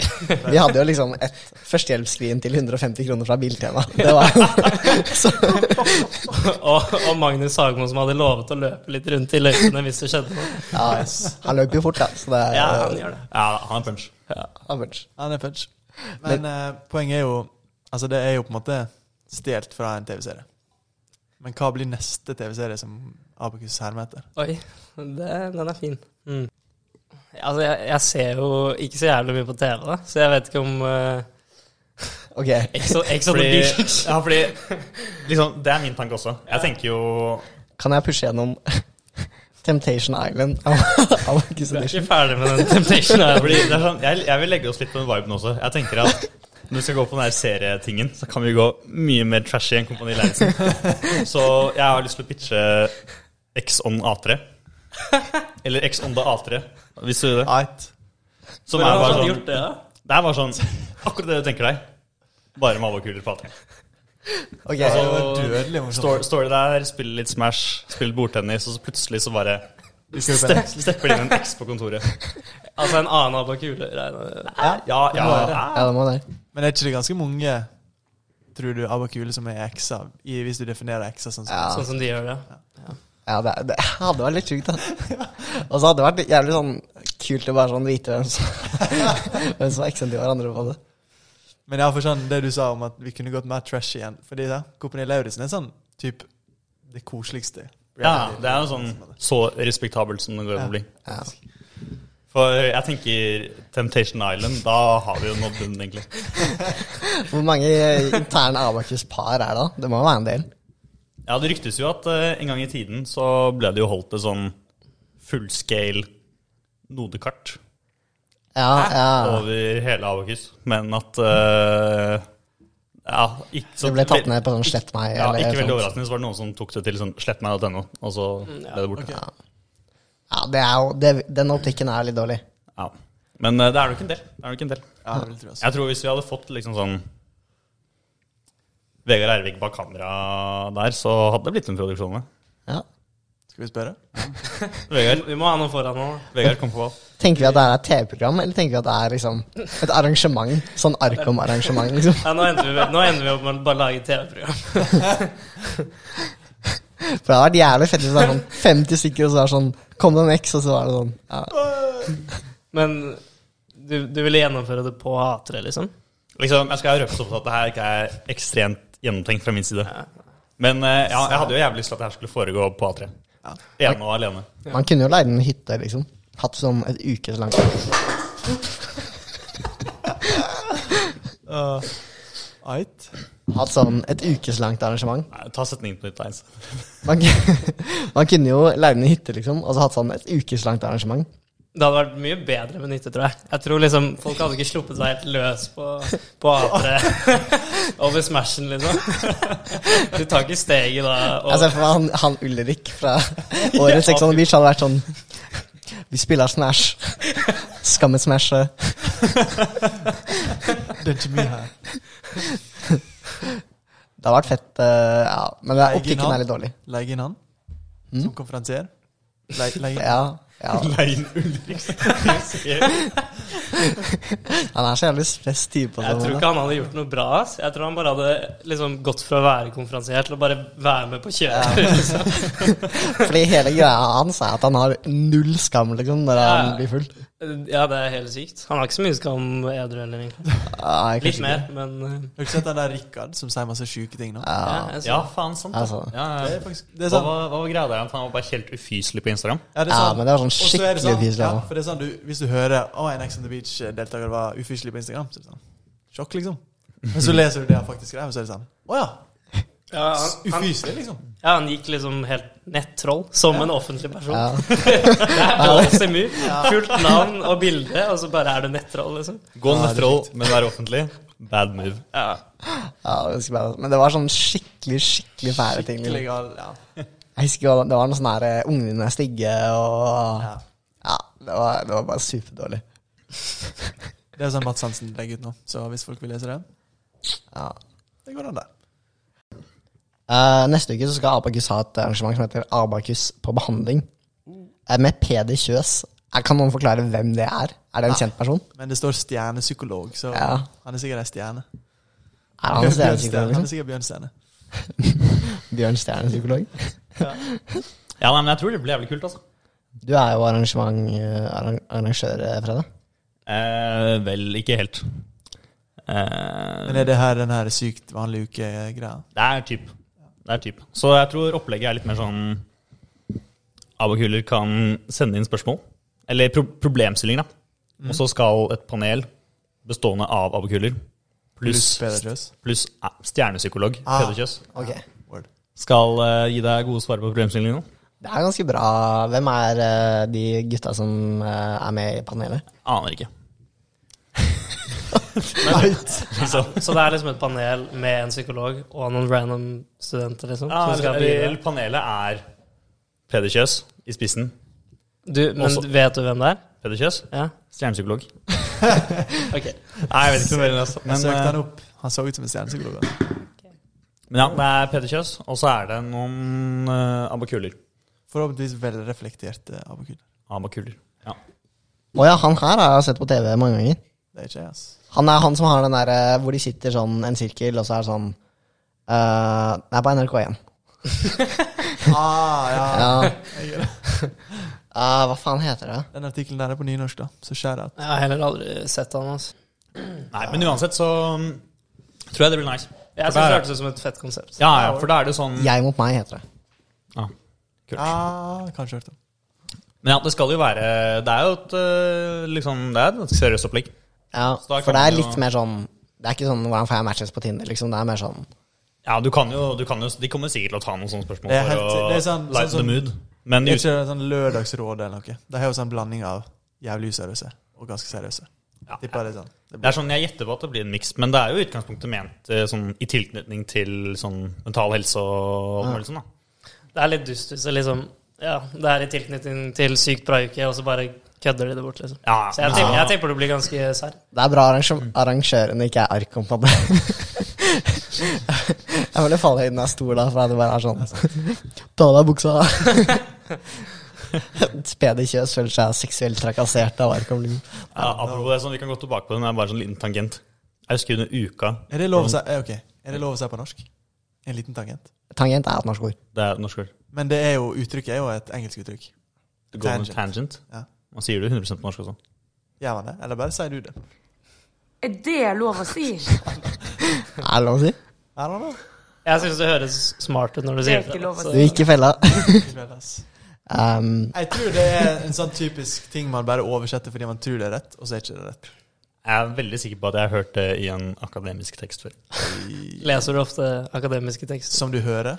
Speaker 2: Vi hadde jo liksom et førstehjelpsskrin til 150 kroner fra Biltema. Det
Speaker 5: [LAUGHS]
Speaker 2: var
Speaker 5: og, og Magnus Hagmo som hadde lovet å løpe litt rundt i løypene hvis det skjedde noe.
Speaker 2: ja, Han løp jo fort, da, så det er
Speaker 5: Ja, han gjør det.
Speaker 4: Ja, han er punch.
Speaker 2: average.
Speaker 3: Han er punch. Men eh, poenget er jo Altså, det er jo på en måte stjålet fra en TV-serie. Men hva blir neste TV-serie som Abakus hermer etter?
Speaker 5: Oi, det, den er fin. Mm. Altså, jeg, jeg ser jo ikke så jævlig mye på TV, da, så jeg vet ikke om eh,
Speaker 2: Ok.
Speaker 5: Ex on Ex on the
Speaker 4: Fordi-
Speaker 5: beach.
Speaker 4: Ja, fordi liksom, Det er min tanke også. Jeg tenker jo
Speaker 2: Kan jeg pushe gjennom [LAUGHS] Temptation Island [LAUGHS] av av August
Speaker 5: Du er
Speaker 2: Edition?
Speaker 5: [LAUGHS] ikke ferdig med den Temptation
Speaker 4: fordi
Speaker 5: Island.
Speaker 4: det er sånn, jeg, jeg vil legge oss litt på den viben også. Jeg tenker at når vi skal gå på den her serietingen, så kan vi gå mye mer trashy enn Kompani Lauritzen. Så jeg har lyst til å pitche X on A3. Eller X on the A3, hvis du gjør det.
Speaker 3: Ait.
Speaker 4: Som er bare sånn,
Speaker 5: gjort det, ja?
Speaker 4: det er bare sånn Akkurat det du tenker deg. Bare med avakuler på A3.
Speaker 2: Ok,
Speaker 3: Det var dødelig morsomt.
Speaker 4: Står, står det der, spiller litt Smash, spiller bordtennis, og så plutselig så bare
Speaker 3: Vi skal jo
Speaker 4: ste-
Speaker 3: spenne.
Speaker 4: stepper det inn en X på kontoret.
Speaker 5: Altså en annen abakule regner
Speaker 4: Ja, ja, ja.
Speaker 2: Ja, det må det.
Speaker 3: Men er ikke det ganske mange, tror du, Abakule som er ekser, i- hvis du definerer ekser sånn? som-
Speaker 2: Ja.
Speaker 5: Sånn som de gjør det.
Speaker 2: Ja, det, [LAUGHS] det hadde vært litt sjukt, da. Og så hadde det vært jævlig sånn kult å bare sånn vite hvem som [LAUGHS] Hvem som var eksen til hverandre på det.
Speaker 3: Men jeg har forstått sånn, det du sa om at vi kunne gått mer trash igjen. Fordi da, Kompani Lauritzen er sånn typ det koseligste.
Speaker 4: Ja, det er jo sånn så respektabelt som det går an å bli.
Speaker 2: Ja.
Speaker 4: For jeg tenker Temptation Island, da har vi jo nådd bunnen, egentlig.
Speaker 2: Hvor mange interne Abakus-par er det, da? Det må jo være en del.
Speaker 4: Ja, det ryktes jo at eh, en gang i tiden så ble det jo holdt et sånn fullscale nodekart
Speaker 2: Ja, ja.
Speaker 4: over hele Abakus, men at eh, Ja, ikke så
Speaker 2: Det ble tatt ned på sånn slett meg.
Speaker 4: Ja,
Speaker 2: eller
Speaker 4: ikke veldig
Speaker 2: sånt.
Speaker 4: overraskende, så var det noen som tok det til sånn slettmeg.no, og så ble det borte.
Speaker 2: Ja, det er jo, det, Den optikken er litt dårlig.
Speaker 4: Ja. Men eh, det er nok en del. Det er nok en del.
Speaker 3: Ja, det vil jeg tro, altså.
Speaker 4: Jeg tror hvis vi hadde fått liksom sånn Vegard Ervik bak kamera der, så hadde det blitt en produksjon. det.
Speaker 2: Ja.
Speaker 3: Skal vi spørre?
Speaker 4: Vegard,
Speaker 5: Vi må ha noe foran nå.
Speaker 4: Vegard kom på ball.
Speaker 2: Tenker vi at det er et TV-program, eller tenker vi at det er liksom et arrangement? Sånn Arkom-arrangement, liksom.
Speaker 5: Ja, nå, ender vi, nå ender vi opp med å bare lage et TV-program.
Speaker 2: For det hadde vært jævlig fett hvis det var sånn 50 stykker, og så var det sånn Kom det en X, og så var det sånn ja.
Speaker 5: Men du, du ville gjennomføre det på A3, liksom?
Speaker 4: Liksom, jeg skal røpe sånn at det her ikke er ekstremt gjennomtenkt fra min side. Men eh, ja, jeg hadde jo jævlig lyst til at det her skulle foregå på A3. Ene og alene.
Speaker 2: Man kunne jo leid en hytte, liksom. Hatt som et ukes langt
Speaker 3: Uh, Ait.
Speaker 2: Hatt sånn et ukeslangt arrangement.
Speaker 4: Nei, ta setningen på nytt, Eins.
Speaker 2: Man, [LAUGHS] man kunne jo leid en hytte, liksom, og så hatt sånn et ukeslangt arrangement.
Speaker 5: Det hadde vært mye bedre med nytte, tror jeg. Jeg tror liksom Folk hadde ikke sluppet seg helt løs på, på A3 over Smashen, liksom. Du tar ikke steget da.
Speaker 2: Jeg
Speaker 5: Og,
Speaker 2: ser Altså, for meg han, han Ulrik
Speaker 5: [LAUGHS]
Speaker 2: fra årets Sex on the Beach hadde vært sånn [LAUGHS] Vi spiller Smash. [LAUGHS] Skammet Smash. eh.
Speaker 3: Det er ikke mye her.
Speaker 2: Det hadde vært fett, eh, ja. Men det, optikken er litt dårlig.
Speaker 3: Legge inn han som konferansier. Legge, legge inn.
Speaker 2: Ja,
Speaker 5: [LAUGHS]
Speaker 2: ja.
Speaker 4: Lein Ulrik.
Speaker 2: [LAUGHS] Han er så jævlig stress type. og
Speaker 5: jeg
Speaker 2: sånn,
Speaker 5: tror
Speaker 2: da.
Speaker 5: ikke han hadde gjort noe bra. ass. Jeg tror han bare hadde liksom gått fra å være konferansier til å bare være med på kjøret. Liksom.
Speaker 2: Fordi hele greia hans er at han har null skam liksom, når
Speaker 5: Ja.
Speaker 2: han blir full.
Speaker 5: Ja, det er helt sykt. Han har ikke så mye skam edru heller, egentlig.
Speaker 2: Nei, kanskje
Speaker 5: Litt
Speaker 2: ikke.
Speaker 5: [LAUGHS] mer, men eh,
Speaker 3: Har du ikke sett den der Rikard som sier masse sjuke ting nå?
Speaker 5: ja,
Speaker 2: Ja.
Speaker 5: jeg
Speaker 4: Ja,
Speaker 5: så-
Speaker 4: faen, sant. det.
Speaker 2: Jeg så det.
Speaker 4: Ja, ja.
Speaker 3: Det er faktisk
Speaker 4: Hva
Speaker 3: det er sånn.
Speaker 4: var, hva var greia der? At han var bare helt ufyselig på Instagram?
Speaker 3: Ja, det er
Speaker 2: Ja,
Speaker 3: sant.
Speaker 2: men det var sånn
Speaker 3: Og så er det
Speaker 2: skikkelig altså.
Speaker 3: sånn,
Speaker 2: ufyselig,
Speaker 3: ja,
Speaker 2: da.
Speaker 3: for det er sånn, du, Hvis du hører å, en Ex on the Beach-deltaker var ufyselig på Instagram, så er det sånn sjokk, liksom. Men så leser du det han faktisk skrev, og så er det sånn å ja,
Speaker 5: ja, han, han,
Speaker 3: ufyselig, liksom.
Speaker 5: ja, han gikk liksom helt nettroll, som en offentlig person.
Speaker 2: Ja.
Speaker 5: [LAUGHS] Det er Blåse mur. Fullt navn og bilde, og så bare er du nettroll, liksom.
Speaker 4: Gå ned troll, men være offentlig. Bad move.
Speaker 5: Ja.
Speaker 2: Ja, det husker jeg. Men det var sånn skikkelig skikkelig fæle ting.
Speaker 3: Skikkelig
Speaker 2: Liksom.
Speaker 3: gal, ja.
Speaker 2: Jeg husker jo, Det var noe sånn her eh, Ungene er stygge og
Speaker 3: ja.
Speaker 2: Ja, det var, det var bare superdårlig.
Speaker 3: Det er sånn Mats Hansen legger ut nå, så hvis folk vil lese det,
Speaker 2: Ja.
Speaker 3: det går an der.
Speaker 2: Eh, neste uke så skal Abakus ha et arrangement som heter Abakus på behandling. Eh, med Peder Kjøs. Eh, Kan noen forklare hvem det er? Er det en kjent person?
Speaker 3: Men det står stjernepsykolog, så
Speaker 2: Ja.
Speaker 3: han er sikkert ei stjerne.
Speaker 2: Er han
Speaker 3: Bjørnstjerne,
Speaker 2: stjernepsykolog?
Speaker 3: han
Speaker 2: Liksom?
Speaker 3: er sikkert Bjørnstjerne.
Speaker 2: Bjørn Stjernepsykolog?
Speaker 4: Ja, nei, men jeg tror det blir jævlig kult, altså.
Speaker 2: Du er jo arrangement, eh, arran- arrangør, eh, Frede.
Speaker 4: Eh, vel, ikke helt. Eh,
Speaker 3: Men er det her den her sykt vanlig uke-greia?
Speaker 4: det er typ. Det er typ. Så jeg tror opplegget er litt mer sånn Abakuler kan sende inn spørsmål. Eller pro problemstillinger, da. Og så skal et panel bestående av abakuler pluss
Speaker 3: Pluss Peder Kjøs.
Speaker 4: Pluss eh, stjernepsykolog
Speaker 3: Ah.
Speaker 4: Peder Kjøs
Speaker 2: Ok.
Speaker 3: Word.
Speaker 4: skal eh, gi deg gode svar på problemstillingene.
Speaker 2: Det er ganske bra. Hvem er eh, de gutta som eh, er med i panelet?
Speaker 4: Aner
Speaker 3: [LAUGHS]
Speaker 4: ikke.
Speaker 5: Så. så det er liksom et panel med en psykolog og noen random studenter, liksom?
Speaker 4: Ja,
Speaker 5: som skal
Speaker 4: eller,
Speaker 5: bidra.
Speaker 4: eller panelet er Peder Kjøs i spissen.
Speaker 5: du, men
Speaker 4: Også-
Speaker 5: vet du hvem det er?
Speaker 4: Peder Kjøs,
Speaker 5: Ja?
Speaker 3: [LAUGHS]
Speaker 4: stjernepsykolog.
Speaker 5: Ok.
Speaker 4: Nei, jeg vet ikke noe mer enn det. altså.
Speaker 3: Jeg
Speaker 4: Men,
Speaker 3: søkte
Speaker 4: eh,
Speaker 3: han opp. Han så ut som en stjernepsykolog. da.
Speaker 4: Men ja, det er Peder Kjøs, og så er det noen uh, abakuler.
Speaker 3: Forhåpentligvis velreflektert eh, abakul.
Speaker 4: Abakuler. Ja.
Speaker 2: Å ja, han her har jeg sett på TV mange ganger.
Speaker 3: Det er ikke jeg, altså.
Speaker 2: Han er han som har den derre hvor de sitter sånn en sirkel, og så er det sånn eh, Det er på
Speaker 4: [LAUGHS]
Speaker 2: NRK1.
Speaker 3: Ah, ja.
Speaker 2: [LAUGHS] Ja. Eh, hva faen heter det?
Speaker 3: Den artikkelen der er på nynorsk, da. Så skjær at
Speaker 5: Jeg har heller aldri sett han, altså.
Speaker 4: Nei, men uansett så mm, tror jeg det blir nice.
Speaker 5: Jeg
Speaker 4: For
Speaker 5: syns det
Speaker 4: der-
Speaker 5: hørtes ut som et fett konsept.
Speaker 4: Ja, ja, for da er det jo sånn
Speaker 2: Jeg mot meg heter det.
Speaker 4: ja. Kult.
Speaker 3: ah, Kanskje hørt om.
Speaker 4: Men ja, det skal jo være Det er jo et eh, liksom Det er et ganske seriøst opplegg.
Speaker 2: Ja,
Speaker 4: Så da
Speaker 2: for
Speaker 4: kan
Speaker 2: det er
Speaker 4: du jo-
Speaker 2: litt mer sånn Det er ikke sånn hvordan får jeg matches på Tinder, liksom. Det er mer sånn
Speaker 4: Ja, du kan jo, du kan jo De kommer sikkert til å ta noen sånne spørsmål
Speaker 3: Det er
Speaker 4: for
Speaker 3: helt-
Speaker 4: å
Speaker 3: det er sånn-
Speaker 4: lighten
Speaker 3: sånn som-
Speaker 4: the mood. Men
Speaker 3: Det
Speaker 4: i
Speaker 3: er ikke sånn lørdagsråd eller noe. De har jo sånn blanding av jævlig useriøse og ganske seriøse.
Speaker 4: Ja.
Speaker 3: Tipper det er sånn. Det
Speaker 4: Det
Speaker 3: blir.
Speaker 4: er sånn, Jeg gjetter på at det blir en miks, men det er jo i utgangspunktet ment eh, sånn, i tilknytning til sånn, mental helse og alt mulig sånn. da.
Speaker 5: Det er litt dust hvis det liksom Ja, det er i tilknytning til sykt bra uke, og så bare kødder de det bort, liksom.
Speaker 4: Ja,
Speaker 5: Så jeg
Speaker 4: men-
Speaker 5: tipper, jeg tipper du blir ganske sær.
Speaker 2: Det er bra arrangem- arrangørene ikke er arkom på det. Jeg ville falle inn av stol da, for det bare er sånn Ta av deg buksa! Spede kjøs føler seg seksuelt trakassert av arkom. liksom.
Speaker 4: Ja, apropos det, sånn, Vi kan gå tilbake på den. Det er bare sånn liten tangent. Jeg husker under uka
Speaker 3: Er det lov å si eh, Ok, er det lov å si på norsk? En liten tangent.
Speaker 2: Tangent er et norsk ord.
Speaker 4: Det er et norsk ord.
Speaker 3: Men det er jo uttrykket er jo et engelsk uttrykk.
Speaker 4: Det går med
Speaker 3: Tangent.
Speaker 4: tangent.
Speaker 3: Ja.
Speaker 4: Man sier det jo 100 på norsk sånn. også.
Speaker 3: Gjør man det? Eller bare sier du det?
Speaker 6: Er det lov å si?
Speaker 2: Er det lov å si?
Speaker 3: I don't know.
Speaker 5: Jeg syns det høres smart ut når du
Speaker 6: Det
Speaker 5: sier
Speaker 6: er ikke lov å
Speaker 5: så-
Speaker 2: Du gikk i fella.
Speaker 3: Ikke vel, ass.
Speaker 2: Um,
Speaker 3: Jeg tror det er en sånn typisk ting man bare oversetter fordi man tror det er rett, og så er ikke det rett.
Speaker 4: Jeg er veldig sikker på at jeg har hørt det i en akademisk tekst før.
Speaker 5: Leser du ofte akademiske tekster?
Speaker 3: Som du hører.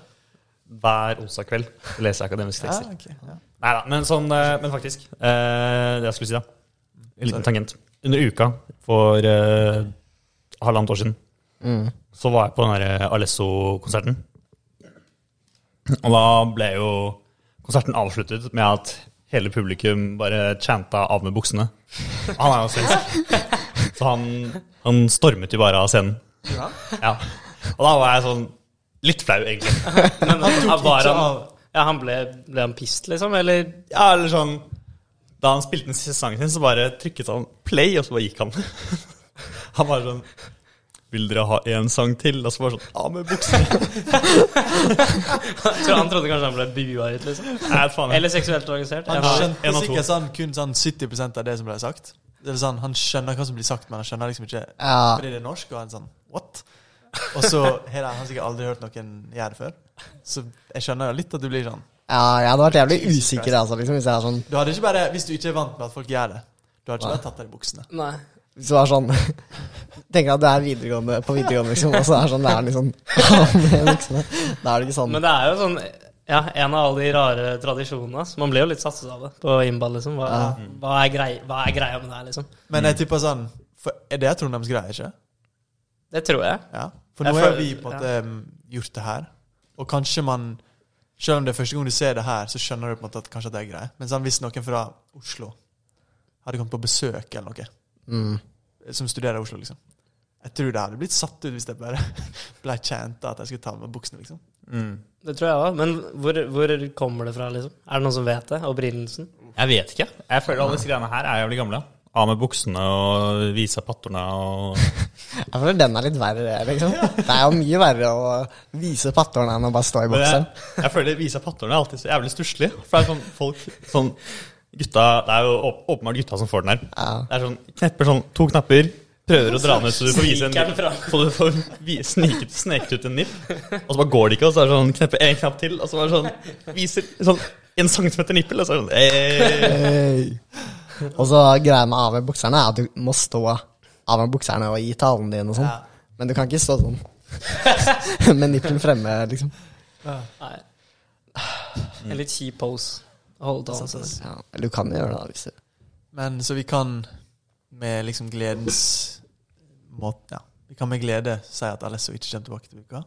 Speaker 4: Hver onsdag kveld leser jeg akademiske
Speaker 3: Ja,
Speaker 4: tekster.
Speaker 3: ok, ja.
Speaker 4: Neida, men, sånn, eh, men faktisk. eh, Det jeg skulle si, da. En liten tangent. Under uka for eh, halvannet år siden
Speaker 2: mm.
Speaker 4: så var jeg på den der eh, Alesso-konserten. Og da ble jo konserten avsluttet med at hele publikum bare chanta 'av med buksene'. Han er jo svensk. Så han, han stormet jo bare av scenen.
Speaker 3: Ja.
Speaker 4: Ja. Og da var jeg sånn litt flau, egentlig.
Speaker 5: Men han,
Speaker 3: ikke
Speaker 5: var han,
Speaker 3: av.
Speaker 5: ja, han ble, ble han pissed, liksom? Eller
Speaker 4: Ja, eller sånn Da han spilte den siste sangen sin, så bare trykket han play, og så bare gikk han. [LAUGHS] Han bare sånn Vil dere ha én sang til? Og så bare sånn Av med buksene.
Speaker 5: tror han trodde kanskje han ble bua ut, liksom?
Speaker 4: Nei, faen.
Speaker 5: Eller seksuelt organisert?
Speaker 3: Han
Speaker 5: Ja.
Speaker 4: en
Speaker 3: skjønte
Speaker 4: av to.
Speaker 3: sikkert sånn, kun sånn 70 av det som ble sagt. Det er sånn, Han skjønner hva som blir sagt, men han skjønner liksom ikke
Speaker 2: Ja.
Speaker 3: fordi det er norsk. Og han er sånn, what? Og så har han sikkert aldri hørt noen gjøre det før. Så jeg skjønner jo litt at du blir sånn.
Speaker 2: Ja, jeg hadde vært jævlig usikker altså, liksom, hvis jeg er sånn
Speaker 3: Du hadde ikke bare, Hvis du ikke er vant med at folk gjør det, du hadde ikke bare tatt av deg buksene.
Speaker 5: Nei.
Speaker 2: Hvis du er sånn Tenker at du er videregående på videregående, liksom, og så er det sånn, det er liksom [LAUGHS] Da er det ikke sånn.
Speaker 5: Men det er jo sånn ja, en av alle de rare tradisjonene. ass. Man blir jo litt satset av det på innball, liksom. Hva, hva, er grei, hva er greia med det her, liksom?
Speaker 3: Men
Speaker 4: Mm.
Speaker 3: jeg tipper sånn for Er det Trondheims greie, ikke?
Speaker 5: Det tror jeg.
Speaker 3: Ja. For
Speaker 5: Jeg
Speaker 3: nå har
Speaker 5: føler-
Speaker 3: vi på en måte mm, gjort det her. Og kanskje man Selv om det er første gang du ser det her, så skjønner du på en måte at kanskje at det er greie. Men sånn, hvis noen fra Oslo hadde kommet på besøk eller noe,
Speaker 2: Mm.
Speaker 3: som studerer i Oslo, liksom Jeg tror det hadde blitt satt ut hvis det bare [LAUGHS] ble chanta at jeg skulle ta med buksene, liksom.
Speaker 5: Det tror jeg også. Men hvor, hvor kommer det fra, liksom? Er det noen som vet det? Opprinnelsen?
Speaker 4: Jeg vet ikke. Jeg føler alle disse greiene her er jævlig gamle. Av med buksene og vise pattorna og
Speaker 2: Jeg føler den er litt verre, liksom. Det er jo mye verre å vise pattorene enn å bare stå i
Speaker 4: Men jeg,
Speaker 2: boksen.
Speaker 4: jeg føler vise pattorna er alltid så jævlig stusslig. For det er sånn folk sånn Gutta Det er jo åp- åpenbart gutta som får den her.
Speaker 2: Ja.
Speaker 4: Det er sånn Knepper sånn to knapper, prøver å dra ned så du får vise en
Speaker 5: Sniker den fram.
Speaker 4: Så du får vi- sniket, sneket ut en nipp, og så bare går det ikke, og så er det sånn Knepper én knapp til, og så bare sånn Viser sånn en centimeter nippel, og så er det sånn eh.
Speaker 2: Hey. Og så greia med av med bukserne er at du må stå av med bukserne og gi talen din og sånn.
Speaker 3: Ja.
Speaker 2: Men du kan ikke stå
Speaker 5: [LAUGHS]
Speaker 2: sånn med nippelen fremme, liksom.
Speaker 5: Nei. [SIGHS] En litt kjip pose. å Holde talen sin.
Speaker 2: Ja, eller du kan jo gjøre det, da, hvis du
Speaker 3: Men så vi kan med liksom gledens måte Ja. Vi kan med glede si at Alesso ikke kommer tilbake til uka.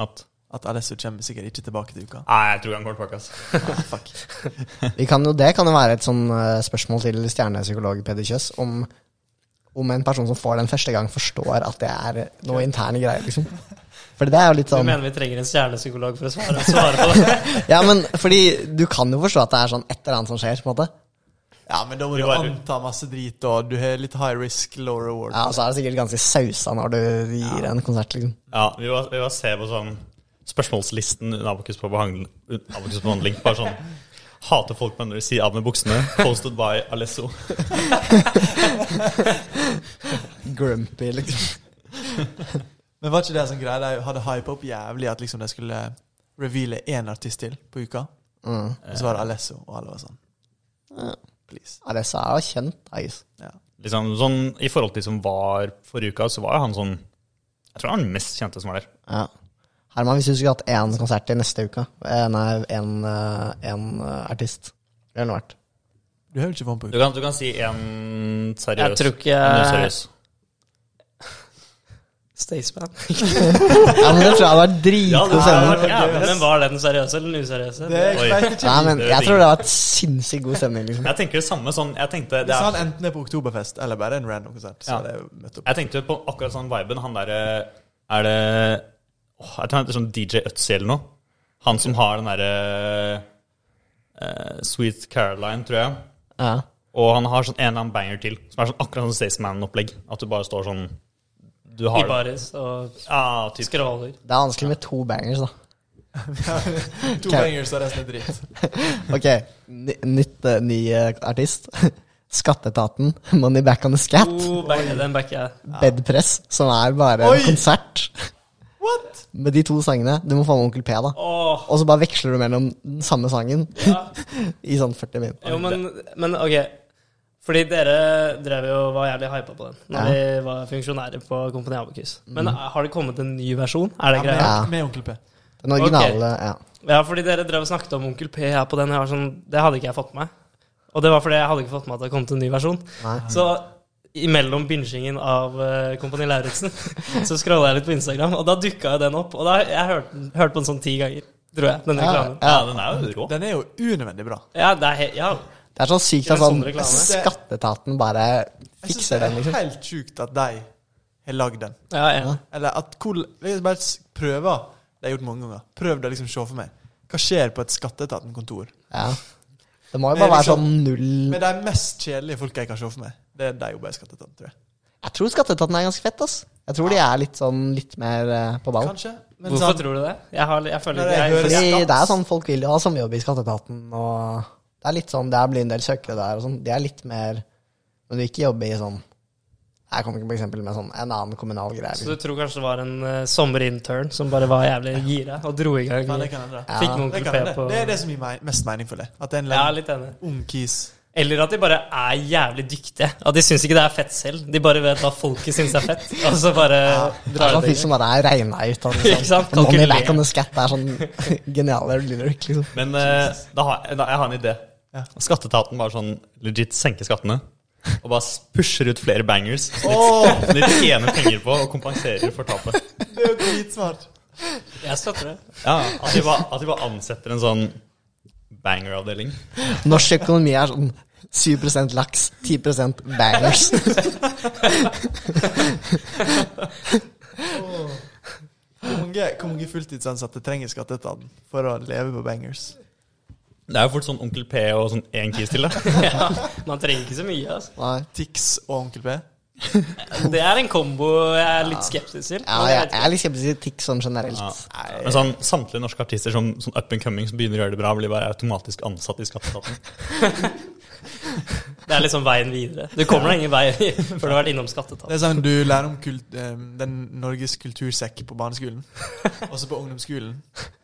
Speaker 4: At
Speaker 3: At Alesso kommer sikkert ikke tilbake til uka.
Speaker 4: Nei, jeg tror han går tilbake, ass.
Speaker 3: Fuck.
Speaker 2: Vi kan jo, det kan jo være et sånn eh, spørsmål til stjernepsykolog Peder Kjøs. Om, om en person som får den første gang, forstår at det er noe interne greier. liksom. Fordi det er jo litt
Speaker 5: Du
Speaker 2: sånn
Speaker 5: mener vi trenger en stjernepsykolog for å svare, [LAUGHS] svare på det?
Speaker 2: Ja, men fordi du kan jo forstå at det er sånn et eller annet som skjer. på en måte.
Speaker 3: Ja, men da må du
Speaker 4: var-
Speaker 3: anta masse drit, og du har litt high risk, low reward.
Speaker 2: Ja, Og så er det sikkert ganske sausa når du gir en konsert, liksom.
Speaker 4: Ja, vi var, vi var se på sånn spørsmålslisten under Abokus på behandling. under Abokus på behandling bare sånn Hater folk med andre si av med buksene. Posted by Alesso.
Speaker 2: Grumpy, liksom.
Speaker 3: Men var ikke det sånn greie? De hadde hypa opp jævlig at liksom de skulle reveale én artist til på uka.
Speaker 2: Mm.
Speaker 3: Og så var det Alesso, og alle var sånn
Speaker 2: Ja.
Speaker 3: Please.
Speaker 2: Ja, det sa jeg var kjent. da, guys.
Speaker 3: Ja.
Speaker 4: Liksom, sånn, I forhold til de som var forrige uka, så var jo han sånn Jeg tror han var den mest kjente som var der.
Speaker 2: Ja. Herman, hvis du skulle hatt én konsert i neste uke eh, Nei, én eh, artist. Det ville vært
Speaker 3: Du har jo ikke vann på
Speaker 4: Du kan, du kan si en seriøs.
Speaker 5: Jeg tror ikke
Speaker 4: En
Speaker 5: jeg
Speaker 4: useriøs.
Speaker 5: [LAUGHS] Staysman.
Speaker 2: Ja, men Det tror jeg hadde
Speaker 4: Ja,
Speaker 2: vært
Speaker 4: det
Speaker 2: dritgod
Speaker 4: hadde
Speaker 2: stemning.
Speaker 4: vært- Ja, men-
Speaker 5: Men var det den seriøse eller den useriøse?
Speaker 3: Det
Speaker 4: Oi.
Speaker 3: vet ikke.
Speaker 2: Nei, men jeg tror det hadde vært sinnssykt god stemning. liksom
Speaker 4: Jeg tenker det samme sånn Jeg tenkte, det
Speaker 3: Hvis han
Speaker 4: er,
Speaker 3: enten er på Oktoberfest eller bare en random konsert, så
Speaker 4: Ja.
Speaker 3: er det jo møtt opp.
Speaker 4: jeg tenkte på akkurat sånn viben. Han derre Er det åh, Jeg tror han heter sånn DJ Øtzi eller noe. Han som har den derre eh, Sweet Caroline, tror jeg.
Speaker 2: Ja.
Speaker 4: Og han har sånn en eller annen banger til, som er sånn akkurat sånn Staysman-opplegg. At du bare står sånn Du
Speaker 5: I
Speaker 4: har
Speaker 5: baris og
Speaker 4: Ja, typ.
Speaker 5: skråler.
Speaker 2: Det er vanskelig med to bangers, da.
Speaker 3: [LAUGHS] To bangers og resten er dritt.
Speaker 2: Ok, ny, nytt, eh, ny eh, artist. [LAUGHS] Skatteetaten, Money Back on the Scat.
Speaker 5: Oh, backer, den backer jeg.
Speaker 2: Bedpress, som er bare
Speaker 3: Oi!
Speaker 2: en konsert.
Speaker 3: What?
Speaker 2: [LAUGHS] Med de to sangene. Du må få med Onkel P, da.
Speaker 5: Åh,
Speaker 2: Og så bare veksler du mellom den samme sangen [LAUGHS] i sånn 40 min.
Speaker 5: jo, men, men ok. Fordi dere drev jo var jævlig hypa på den Når
Speaker 2: Ja.
Speaker 5: vi var funksjonærer på Kompani Abakus. Men har det kommet en ny versjon? Er det
Speaker 3: Ja,
Speaker 5: greia?
Speaker 3: med, med Onkel P.
Speaker 2: Den originale, ja.
Speaker 5: Ja, fordi dere drev og snakket om Onkel P her på den. Jeg var sånn, det hadde ikke jeg fått med meg. Og det var fordi jeg hadde ikke fått med meg at det kom til en ny versjon.
Speaker 2: Nei.
Speaker 5: Så imellom bingingen av eh, Kompani Lauritzen [LAUGHS] så scrolla jeg litt på Instagram, og da dukka jo den opp. Og da, jeg hørte den- hørte på den sånn ti ganger, tror jeg. Den
Speaker 2: Ja,
Speaker 5: reklamen.
Speaker 4: Ja,
Speaker 2: ja.
Speaker 4: den er jo rå.
Speaker 3: Den er jo unødvendig bra.
Speaker 5: Ja, det er helt Ja.
Speaker 2: Det er så sykt at
Speaker 5: Ikke
Speaker 2: sånn
Speaker 5: en sånn reklame.
Speaker 2: Skatteetaten bare
Speaker 3: Jeg synes
Speaker 2: fikser
Speaker 3: det
Speaker 2: den,
Speaker 3: er
Speaker 2: liksom.
Speaker 3: helt sjukt at de har lagd den.
Speaker 5: ja, ja.
Speaker 3: Eller at cool, jeg bare s- prøver. Det har jeg gjort mange ganger. Prøv det liksom se for meg. Hva skjer på et Skatteetaten-kontor?
Speaker 2: Ja. Det må jo
Speaker 3: Det er
Speaker 2: bare være
Speaker 3: liksom-
Speaker 2: sånn null
Speaker 3: Med de mest kjedelige folka jeg kan se for meg. Det er de jobber i Skatteetaten, tror jeg.
Speaker 2: Jeg tror Skatteetaten er ganske fett, ass. Jeg tror de er litt sånn litt mer eh, på ball.
Speaker 3: Kanskje. Men sånn-
Speaker 5: Hvorfor tror du det? Jeg, har, jeg føler
Speaker 3: Når jeg
Speaker 5: ikke jeg,
Speaker 3: hører-
Speaker 5: fordi-
Speaker 2: Fordi
Speaker 3: skatt.
Speaker 2: det er sånn folk vil jo ha sommerjobb i Skatteetaten, og det er litt sånn, det blir en del søkere der og sånn. De er litt mer Men du vil ikke jobbe i sånn Jeg kommer ikke på eksempel med sånn en annen kommunal greie.
Speaker 5: Så du
Speaker 2: Liksom.
Speaker 5: tror kanskje det var en eh, sommerintern som bare var jævlig gira og dro i gang?
Speaker 3: Faen, det kan hende.
Speaker 5: Fikk med
Speaker 3: Det,
Speaker 5: Onkel
Speaker 3: kan
Speaker 5: P
Speaker 3: hende.
Speaker 5: på
Speaker 3: det er det som gir meg mest mening for det. At det er en
Speaker 5: Jeg
Speaker 3: lang,
Speaker 5: er litt enig.
Speaker 3: ung kis.
Speaker 5: Eller at de bare er jævlig dyktige. At de syns ikke det er fett selv. De bare vet hva folket syns er fett. Og så bare
Speaker 2: Det er
Speaker 5: drar
Speaker 2: sånn
Speaker 5: de
Speaker 2: fyr som bare er regna ut
Speaker 5: [LAUGHS]
Speaker 2: av
Speaker 5: Ikke sant?
Speaker 2: liksom.
Speaker 5: Kan ikke
Speaker 2: Money back
Speaker 5: le.
Speaker 2: on the scat. Det er sånn [LAUGHS] geniale lyric, liksom.
Speaker 4: Men eh, da har, jeg- da, jeg har en idé.
Speaker 3: Ja.
Speaker 4: Skatteetaten bare sånn legit senker skattene. Og bare s- pusher ut flere bangers som de- som de tjener penger på og kompenserer for tapet.
Speaker 3: Det er jo dritsmart.
Speaker 5: Jeg støtter det. [LAUGHS]
Speaker 4: Ja, at, de bare, at de bare ansetter en sånn banger-avdeling.
Speaker 2: Norsk økonomi er sånn 7 laks, 10
Speaker 5: [LAUGHS]
Speaker 2: bangers.
Speaker 3: Hvor mange, hvor mange fulltidsansatte trenger Skatteetaten for å leve på bangers?
Speaker 4: Det er jo fort sånn Onkel P og sånn én kis til. Da.
Speaker 5: Ja, man trenger ikke så mye. Altså.
Speaker 2: Nei.
Speaker 3: Tix og Onkel P?
Speaker 5: Det er en kombo jeg er litt skeptisk til.
Speaker 2: Ja,
Speaker 5: men
Speaker 2: jeg,
Speaker 5: jeg vet
Speaker 2: jeg er litt skeptisk til TIX sånn generelt.
Speaker 4: Ja. Men sånn, samtlige norske artister som sånn up and coming som begynner å gjøre det bra, blir bare automatisk ansatt i Skatteetaten.
Speaker 5: ikke. Det er liksom veien videre. Du kommer deg ingen vei [LAUGHS] før du har vært innom skattetall.
Speaker 3: Det er sånn du lærer om kult, eh, den Norges kultursekk på barneskolen.
Speaker 5: [LAUGHS]
Speaker 3: Og så på ungdomsskolen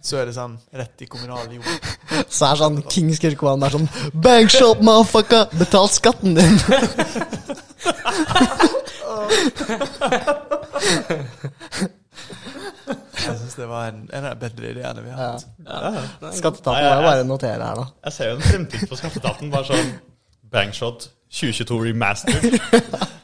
Speaker 3: så er det sånn rett i kommunal jord.
Speaker 2: Så er sånn Kings Kirkwan er sånn Bankshop, motherfucker! Betal skatten din!
Speaker 3: Jeg syns det var en, en av de bedre ideene vi har hatt.
Speaker 2: Skatteetaten må jo bare notere her, da.
Speaker 4: Jeg ser jo en fremtid på Skatteetaten. Bare sånn bangshot 2022 remastered.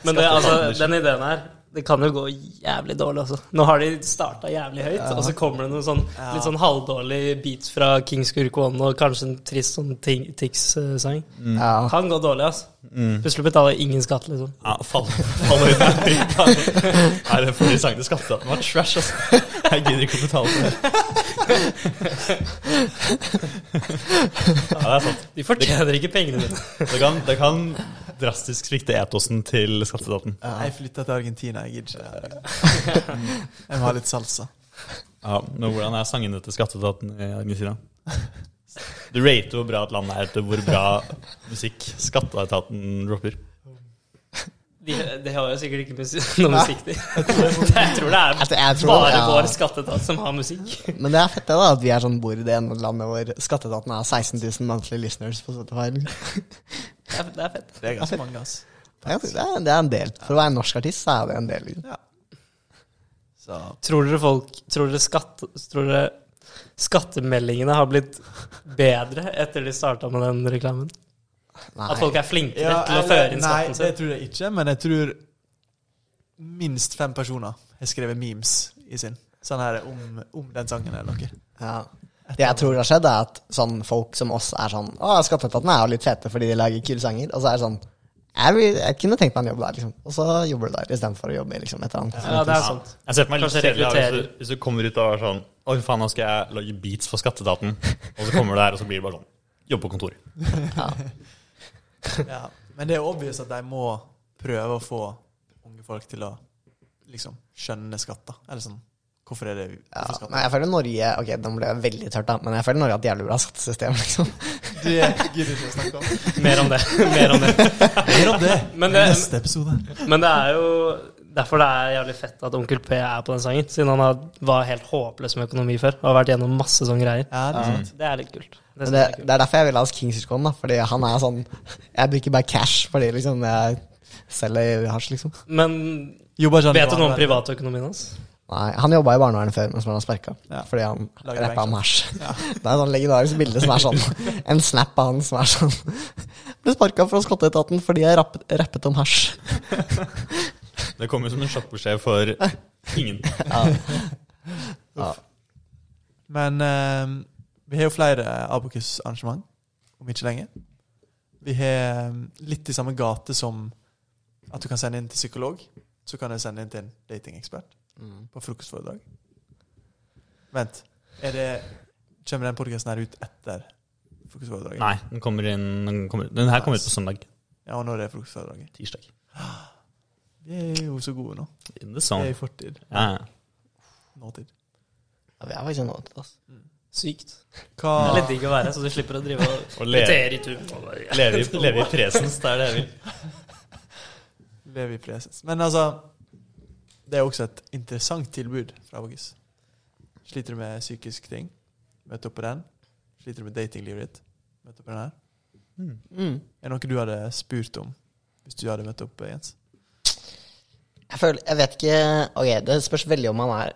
Speaker 5: Men det, altså,
Speaker 4: Skatteetaten.
Speaker 5: den ideen her det kan jo gå jævlig dårlig også. Nå har de starta jævlig høyt, og så kommer det noen sånn, litt sånn halvdårlig beats fra Kings Kurkon og kanskje en trist sånn Ting- Tix-sang.
Speaker 2: Ja.
Speaker 5: Kan gå dårlig, altså.
Speaker 2: Mm.
Speaker 5: Plutselig betaler jeg ingen skatt, liksom.
Speaker 4: Ja, fall, fall ut med Nei, den forrige sangen til Skatteetaten var trash, altså. Jeg gidder ikke å betale for det. Ja, det er sant.
Speaker 5: De fortjener ikke pengene mine.
Speaker 4: Det kan, det kan drastisk svikte etosen til Skatteetaten.
Speaker 3: Jeg flytta til Argentina, jeg gidder ikke det. her. Mm. Jeg må ha litt salsa.
Speaker 4: Ja, men hvordan er sangene til Skatteetaten i Argentina? Du rater hvor bra et land er etter hvor bra musikk Skatteetaten dropper.
Speaker 5: De, de har jo sikkert ikke [LAUGHS] musikk, noe musikk, de. [LAUGHS] Jeg tror det er
Speaker 2: Altså, jeg tror,
Speaker 5: bare
Speaker 2: ja.
Speaker 5: vår skatteetat som har musikk.
Speaker 2: Men det er fett det da, at vi er sånn bor i det ene landet hvor skatteetaten har 16 000 monthly listeners på Spotify. liksom. Det
Speaker 5: Det er, det er fett.
Speaker 3: Det er ganske mange, ass.
Speaker 2: er, ganske- det er- det er en del. For å være en norsk artist, så er det en del. liksom.
Speaker 3: Ja. Så
Speaker 5: Tror dere folk Tror dere, skatt, tror dere skattemeldingene har blitt bedre etter de starta med den reklamen? At folk er flinkere til å føre inn
Speaker 3: Nei,
Speaker 5: skatten
Speaker 3: det
Speaker 5: sin?
Speaker 3: tror jeg ikke, men jeg tror minst fem personer har skrevet memes i sin. Sånn her om, om den sangen eller noe.
Speaker 2: Ja. Det jeg tror har skjedd, er at sånn folk som oss er sånn Å, Skatteetaten er jo litt fete fordi de lager kule sanger. Og så er det sånn jeg, vil, jeg kunne tenkt meg en jobb der, liksom. Og så jobber du der istedenfor å jobbe i liksom, et eller annet.
Speaker 5: Ja, det er sant.
Speaker 4: Jeg ser for meg litt
Speaker 5: Kanskje
Speaker 4: kjedelig her hvis,
Speaker 5: rekrutterer.
Speaker 4: du- hvis du kommer ut og er sånn Oi, faen, nå skal jeg lage beats for skatteetaten. Og så kommer du her, og så blir det bare sånn. Jobb på kontor.
Speaker 3: Ja. Men det er obvious at de må prøve å få unge folk til å liksom skjønne skatter. Eller sånn Hvorfor er det
Speaker 2: Ja,
Speaker 3: hvorfor skatter?
Speaker 2: men jeg føler Norge Ok, nå ble jeg veldig tørt, da, men jeg føler Norge har et jævlig bra skattesystem, liksom.
Speaker 3: Det gidder jeg ikke å snakke om.
Speaker 5: Mer om det. Mer om det.
Speaker 3: Mer om det
Speaker 5: Men det-
Speaker 3: neste episode.
Speaker 5: Men det er jo derfor det er jævlig fett at Onkel P er på den sangen. Siden han har, var helt håpløs med økonomi før og har vært gjennom masse sånne greier.
Speaker 3: Ja, det er sant.
Speaker 5: Det er litt kult. Det
Speaker 2: Men
Speaker 5: synes
Speaker 2: det,
Speaker 5: jeg er kult.
Speaker 2: det er derfor jeg vil ha Kingsercon, da. Fordi han er sånn Jeg bruker bare cash fordi liksom jeg selger hasj, liksom.
Speaker 5: Men
Speaker 3: Jobber ikke han i
Speaker 5: vet du noe om
Speaker 3: barnevernet?
Speaker 5: privatøkonomien hans?
Speaker 2: Nei, Han jobba i barnevernet før, men som han har sparka.
Speaker 3: Ja.
Speaker 2: Fordi han
Speaker 3: Lager
Speaker 2: rappa om
Speaker 3: bank,
Speaker 2: hasj. [LAUGHS] Det er et sånn legendarisk bilde som er sånn
Speaker 3: [LAUGHS]
Speaker 2: En snap av han som er sånn [LAUGHS] Ble sparka fra skatteetaten fordi jeg rapp, rappet om
Speaker 3: [LAUGHS]
Speaker 2: hasj.
Speaker 4: Det kommer som en sjokkbeskjed for ingen.
Speaker 3: Men eh, vi har jo flere Abokus-arrangement om ikke lenge. Vi har eh, litt i samme gate som at du kan sende inn til psykolog. Så kan du sende inn til en datingekspert
Speaker 2: Mm.
Speaker 3: på frokostforedrag. Vent, er det Kommer den podkasten her ut etter frokostforedraget?
Speaker 4: Nei, den kommer inn Den, kommer, den her kommer ut på søndag.
Speaker 3: Ja, og når er frokostforedraget?
Speaker 4: Tirsdag.
Speaker 3: Vi er jo så gode nå.
Speaker 4: In the
Speaker 3: Vi er
Speaker 5: Sånn.
Speaker 4: zone.
Speaker 3: i fortid.
Speaker 4: Ja, ja.
Speaker 3: Nåtid.
Speaker 2: Ja, vi er faktisk nå til oss.
Speaker 5: Sykt.
Speaker 3: Hva,
Speaker 5: Det er litt digg å være, så du slipper å drive [LAUGHS] og
Speaker 4: Og leve,
Speaker 5: irritere i tuben.
Speaker 4: leve, i- leve i presens, det er det jeg vil.
Speaker 3: lever i presens. Men altså, det er også et interessant tilbud fra Abogus. Sliter du med psykisk ting, møt opp på den. Sliter du med datinglivet ditt, møt opp på den her.
Speaker 2: Mm.
Speaker 3: Er det noe du hadde spurt om hvis du hadde møtt opp, Jens?
Speaker 2: Jeg føler Jeg vet ikke Ok, det spørs veldig om han er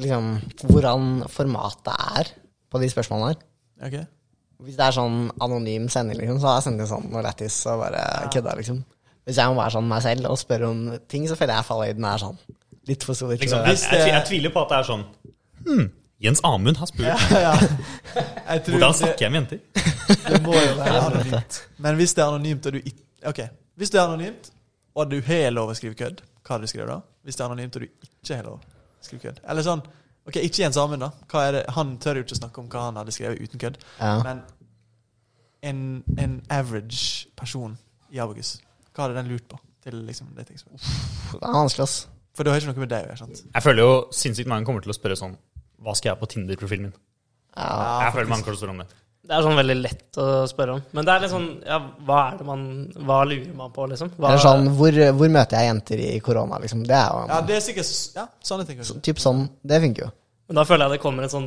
Speaker 2: Liksom hvordan formatet er på de spørsmålene her.
Speaker 3: Ok? [LAUGHS]
Speaker 2: Hvis det er sånn anonym sending, liksom, så har jeg sendt inn sånn noe lættis og bare kødda, liksom. Hvis jeg må være sånn meg selv og spørre om ting, så føler jeg falløyden er sånn litt for stor. til
Speaker 4: Liksom,
Speaker 2: å-
Speaker 4: jeg, jeg, jeg tviler på at det er sånn hmm, Jens Amund har spurt
Speaker 3: Jeg tror
Speaker 4: hvordan
Speaker 3: det,
Speaker 4: snakker jeg med jenter.
Speaker 3: det må jo være anonymt. Men hvis det er anonymt, og du ikke Ok. Hvis det er anonymt, og du har lov å skrive kødd, hva hadde du skrevet da? Hvis det er anonymt, og du ikke har lov å skrive kødd? Eller sånn Ok, ikke Jens Amund, da. Hva er det? Han tør jo ikke å snakke om hva han hadde skrevet uten kødd.
Speaker 2: Ja.
Speaker 3: Men en, en average person i Abogus, hva hadde den lurt på? Til liksom det tidspunktet?
Speaker 2: Det er vanskelig, ass.
Speaker 3: For det har ikke noe med deg å gjøre, sant?
Speaker 4: Jeg føler jo sinnssykt mange kommer til å spørre sånn Hva skal jeg ha på Tinder-profilen min?
Speaker 2: Ja.
Speaker 4: Jeg føler mange kommer til å spørre om det.
Speaker 5: Det er sånn veldig lett å spørre om. Men det er litt sånn ja, Hva er det man Hva lurer man på, liksom? Hva,
Speaker 2: Eller sånn, hvor, hvor møter jeg jenter i korona, liksom? Det er jo
Speaker 3: Ja, det er sikkert s- Ja, sånne ting, kanskje.
Speaker 2: Typ sånn. Det funker jo.
Speaker 5: Men da føler jeg det kommer et sånn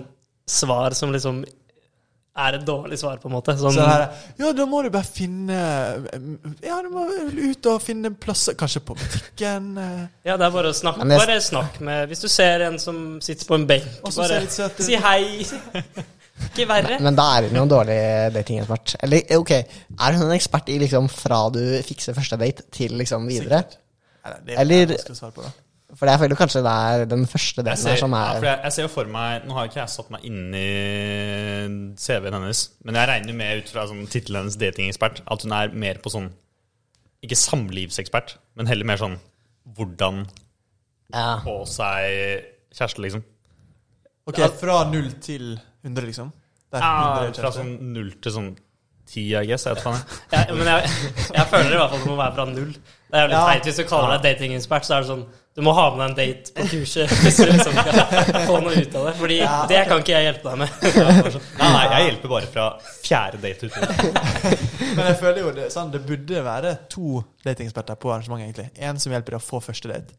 Speaker 5: svar som liksom er et dårlig svar, på en måte. Sånn,
Speaker 3: Så her, ja, da må du bare finne eh, Ja, du må ut og finne plasser Kanskje på butikken eh,
Speaker 5: ja, det er bare å snakke
Speaker 2: Men jeg-
Speaker 5: Bare snakk med Hvis du ser en som sitter på en benk,
Speaker 3: Og som
Speaker 5: bare
Speaker 3: ser litt søt ut.
Speaker 5: si
Speaker 3: [LAUGHS]
Speaker 5: hei. Ikke verre.
Speaker 2: Men da er hun jo en dårlig datingekspert. Eller eh, ok, er hun en ekspert i liksom fra du fikser første date til liksom videre?
Speaker 3: Sikkert. Eller, det er
Speaker 2: Eller-
Speaker 3: det jeg skal svare på, da.
Speaker 2: For jeg føler kanskje det er den første
Speaker 4: Jeg
Speaker 2: delen
Speaker 4: ser,
Speaker 2: her som
Speaker 4: ja,
Speaker 2: er
Speaker 4: for jeg, jeg ser jo for meg Nå har jo ikke jeg satt meg inn i CV-en hennes, men jeg regner med ut fra sånn, tittelen hennes datingekspert at hun er mer på sånn Ikke samlivsekspert, men heller mer sånn hvordan
Speaker 2: ja.
Speaker 4: få seg kjæreste, liksom.
Speaker 3: Ok, Fra null til 100, liksom? Der,
Speaker 4: Ja,
Speaker 3: 100 er
Speaker 4: fra
Speaker 3: kjæreste.
Speaker 4: sånn null til sånn ti, I guess. Jeg vet faen. jeg.
Speaker 5: Jeg, men jeg, jeg føler i hvert fall det må være fra null. Det er jævlig
Speaker 3: Ja.
Speaker 5: teit hvis du kaller deg datingekspert, så er det sånn Du må ha med deg en date på kurset [LAUGHS] hvis du liksom skal få noe ut av det. Fordi det kan ikke jeg hjelpe deg med.
Speaker 4: sånn, Nei, nei, jeg hjelper bare fra fjerde date utover.
Speaker 3: Men jeg føler jo det, sånn, det burde være to datingeksperter på arrangementet. egentlig En som hjelper deg å få første date,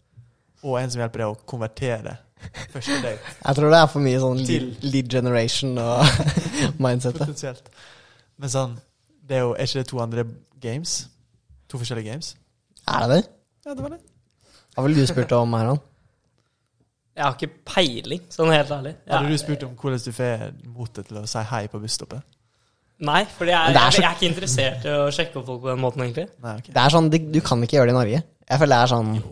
Speaker 3: og en som hjelper deg å konvertere første [LAUGHS] date.
Speaker 2: Jeg tror det er for mye sånn lead,
Speaker 3: Til-
Speaker 2: lead generation og [LAUGHS] mindsetet.
Speaker 3: Potensielt. Men sånn, det er jo er ikke det to andre games? To forskjellige games?
Speaker 2: Er det det?
Speaker 3: Ja, det var det.
Speaker 2: Hva ville du spurt om, Herman?
Speaker 5: Jeg har ikke peiling, sånn helt ærlig.
Speaker 3: Hadde
Speaker 5: Jeg-
Speaker 3: du spurt om hvordan du får motet til å si hei på busstoppet?
Speaker 5: Nei, for jeg,
Speaker 2: Men det er
Speaker 5: jeg,
Speaker 2: så-
Speaker 5: jeg er ikke interessert i å sjekke opp folk på den måten, egentlig.
Speaker 3: Nei, ok.
Speaker 2: Det er sånn, det- Du kan ikke gjøre det i Norge. Jeg føler det er sånn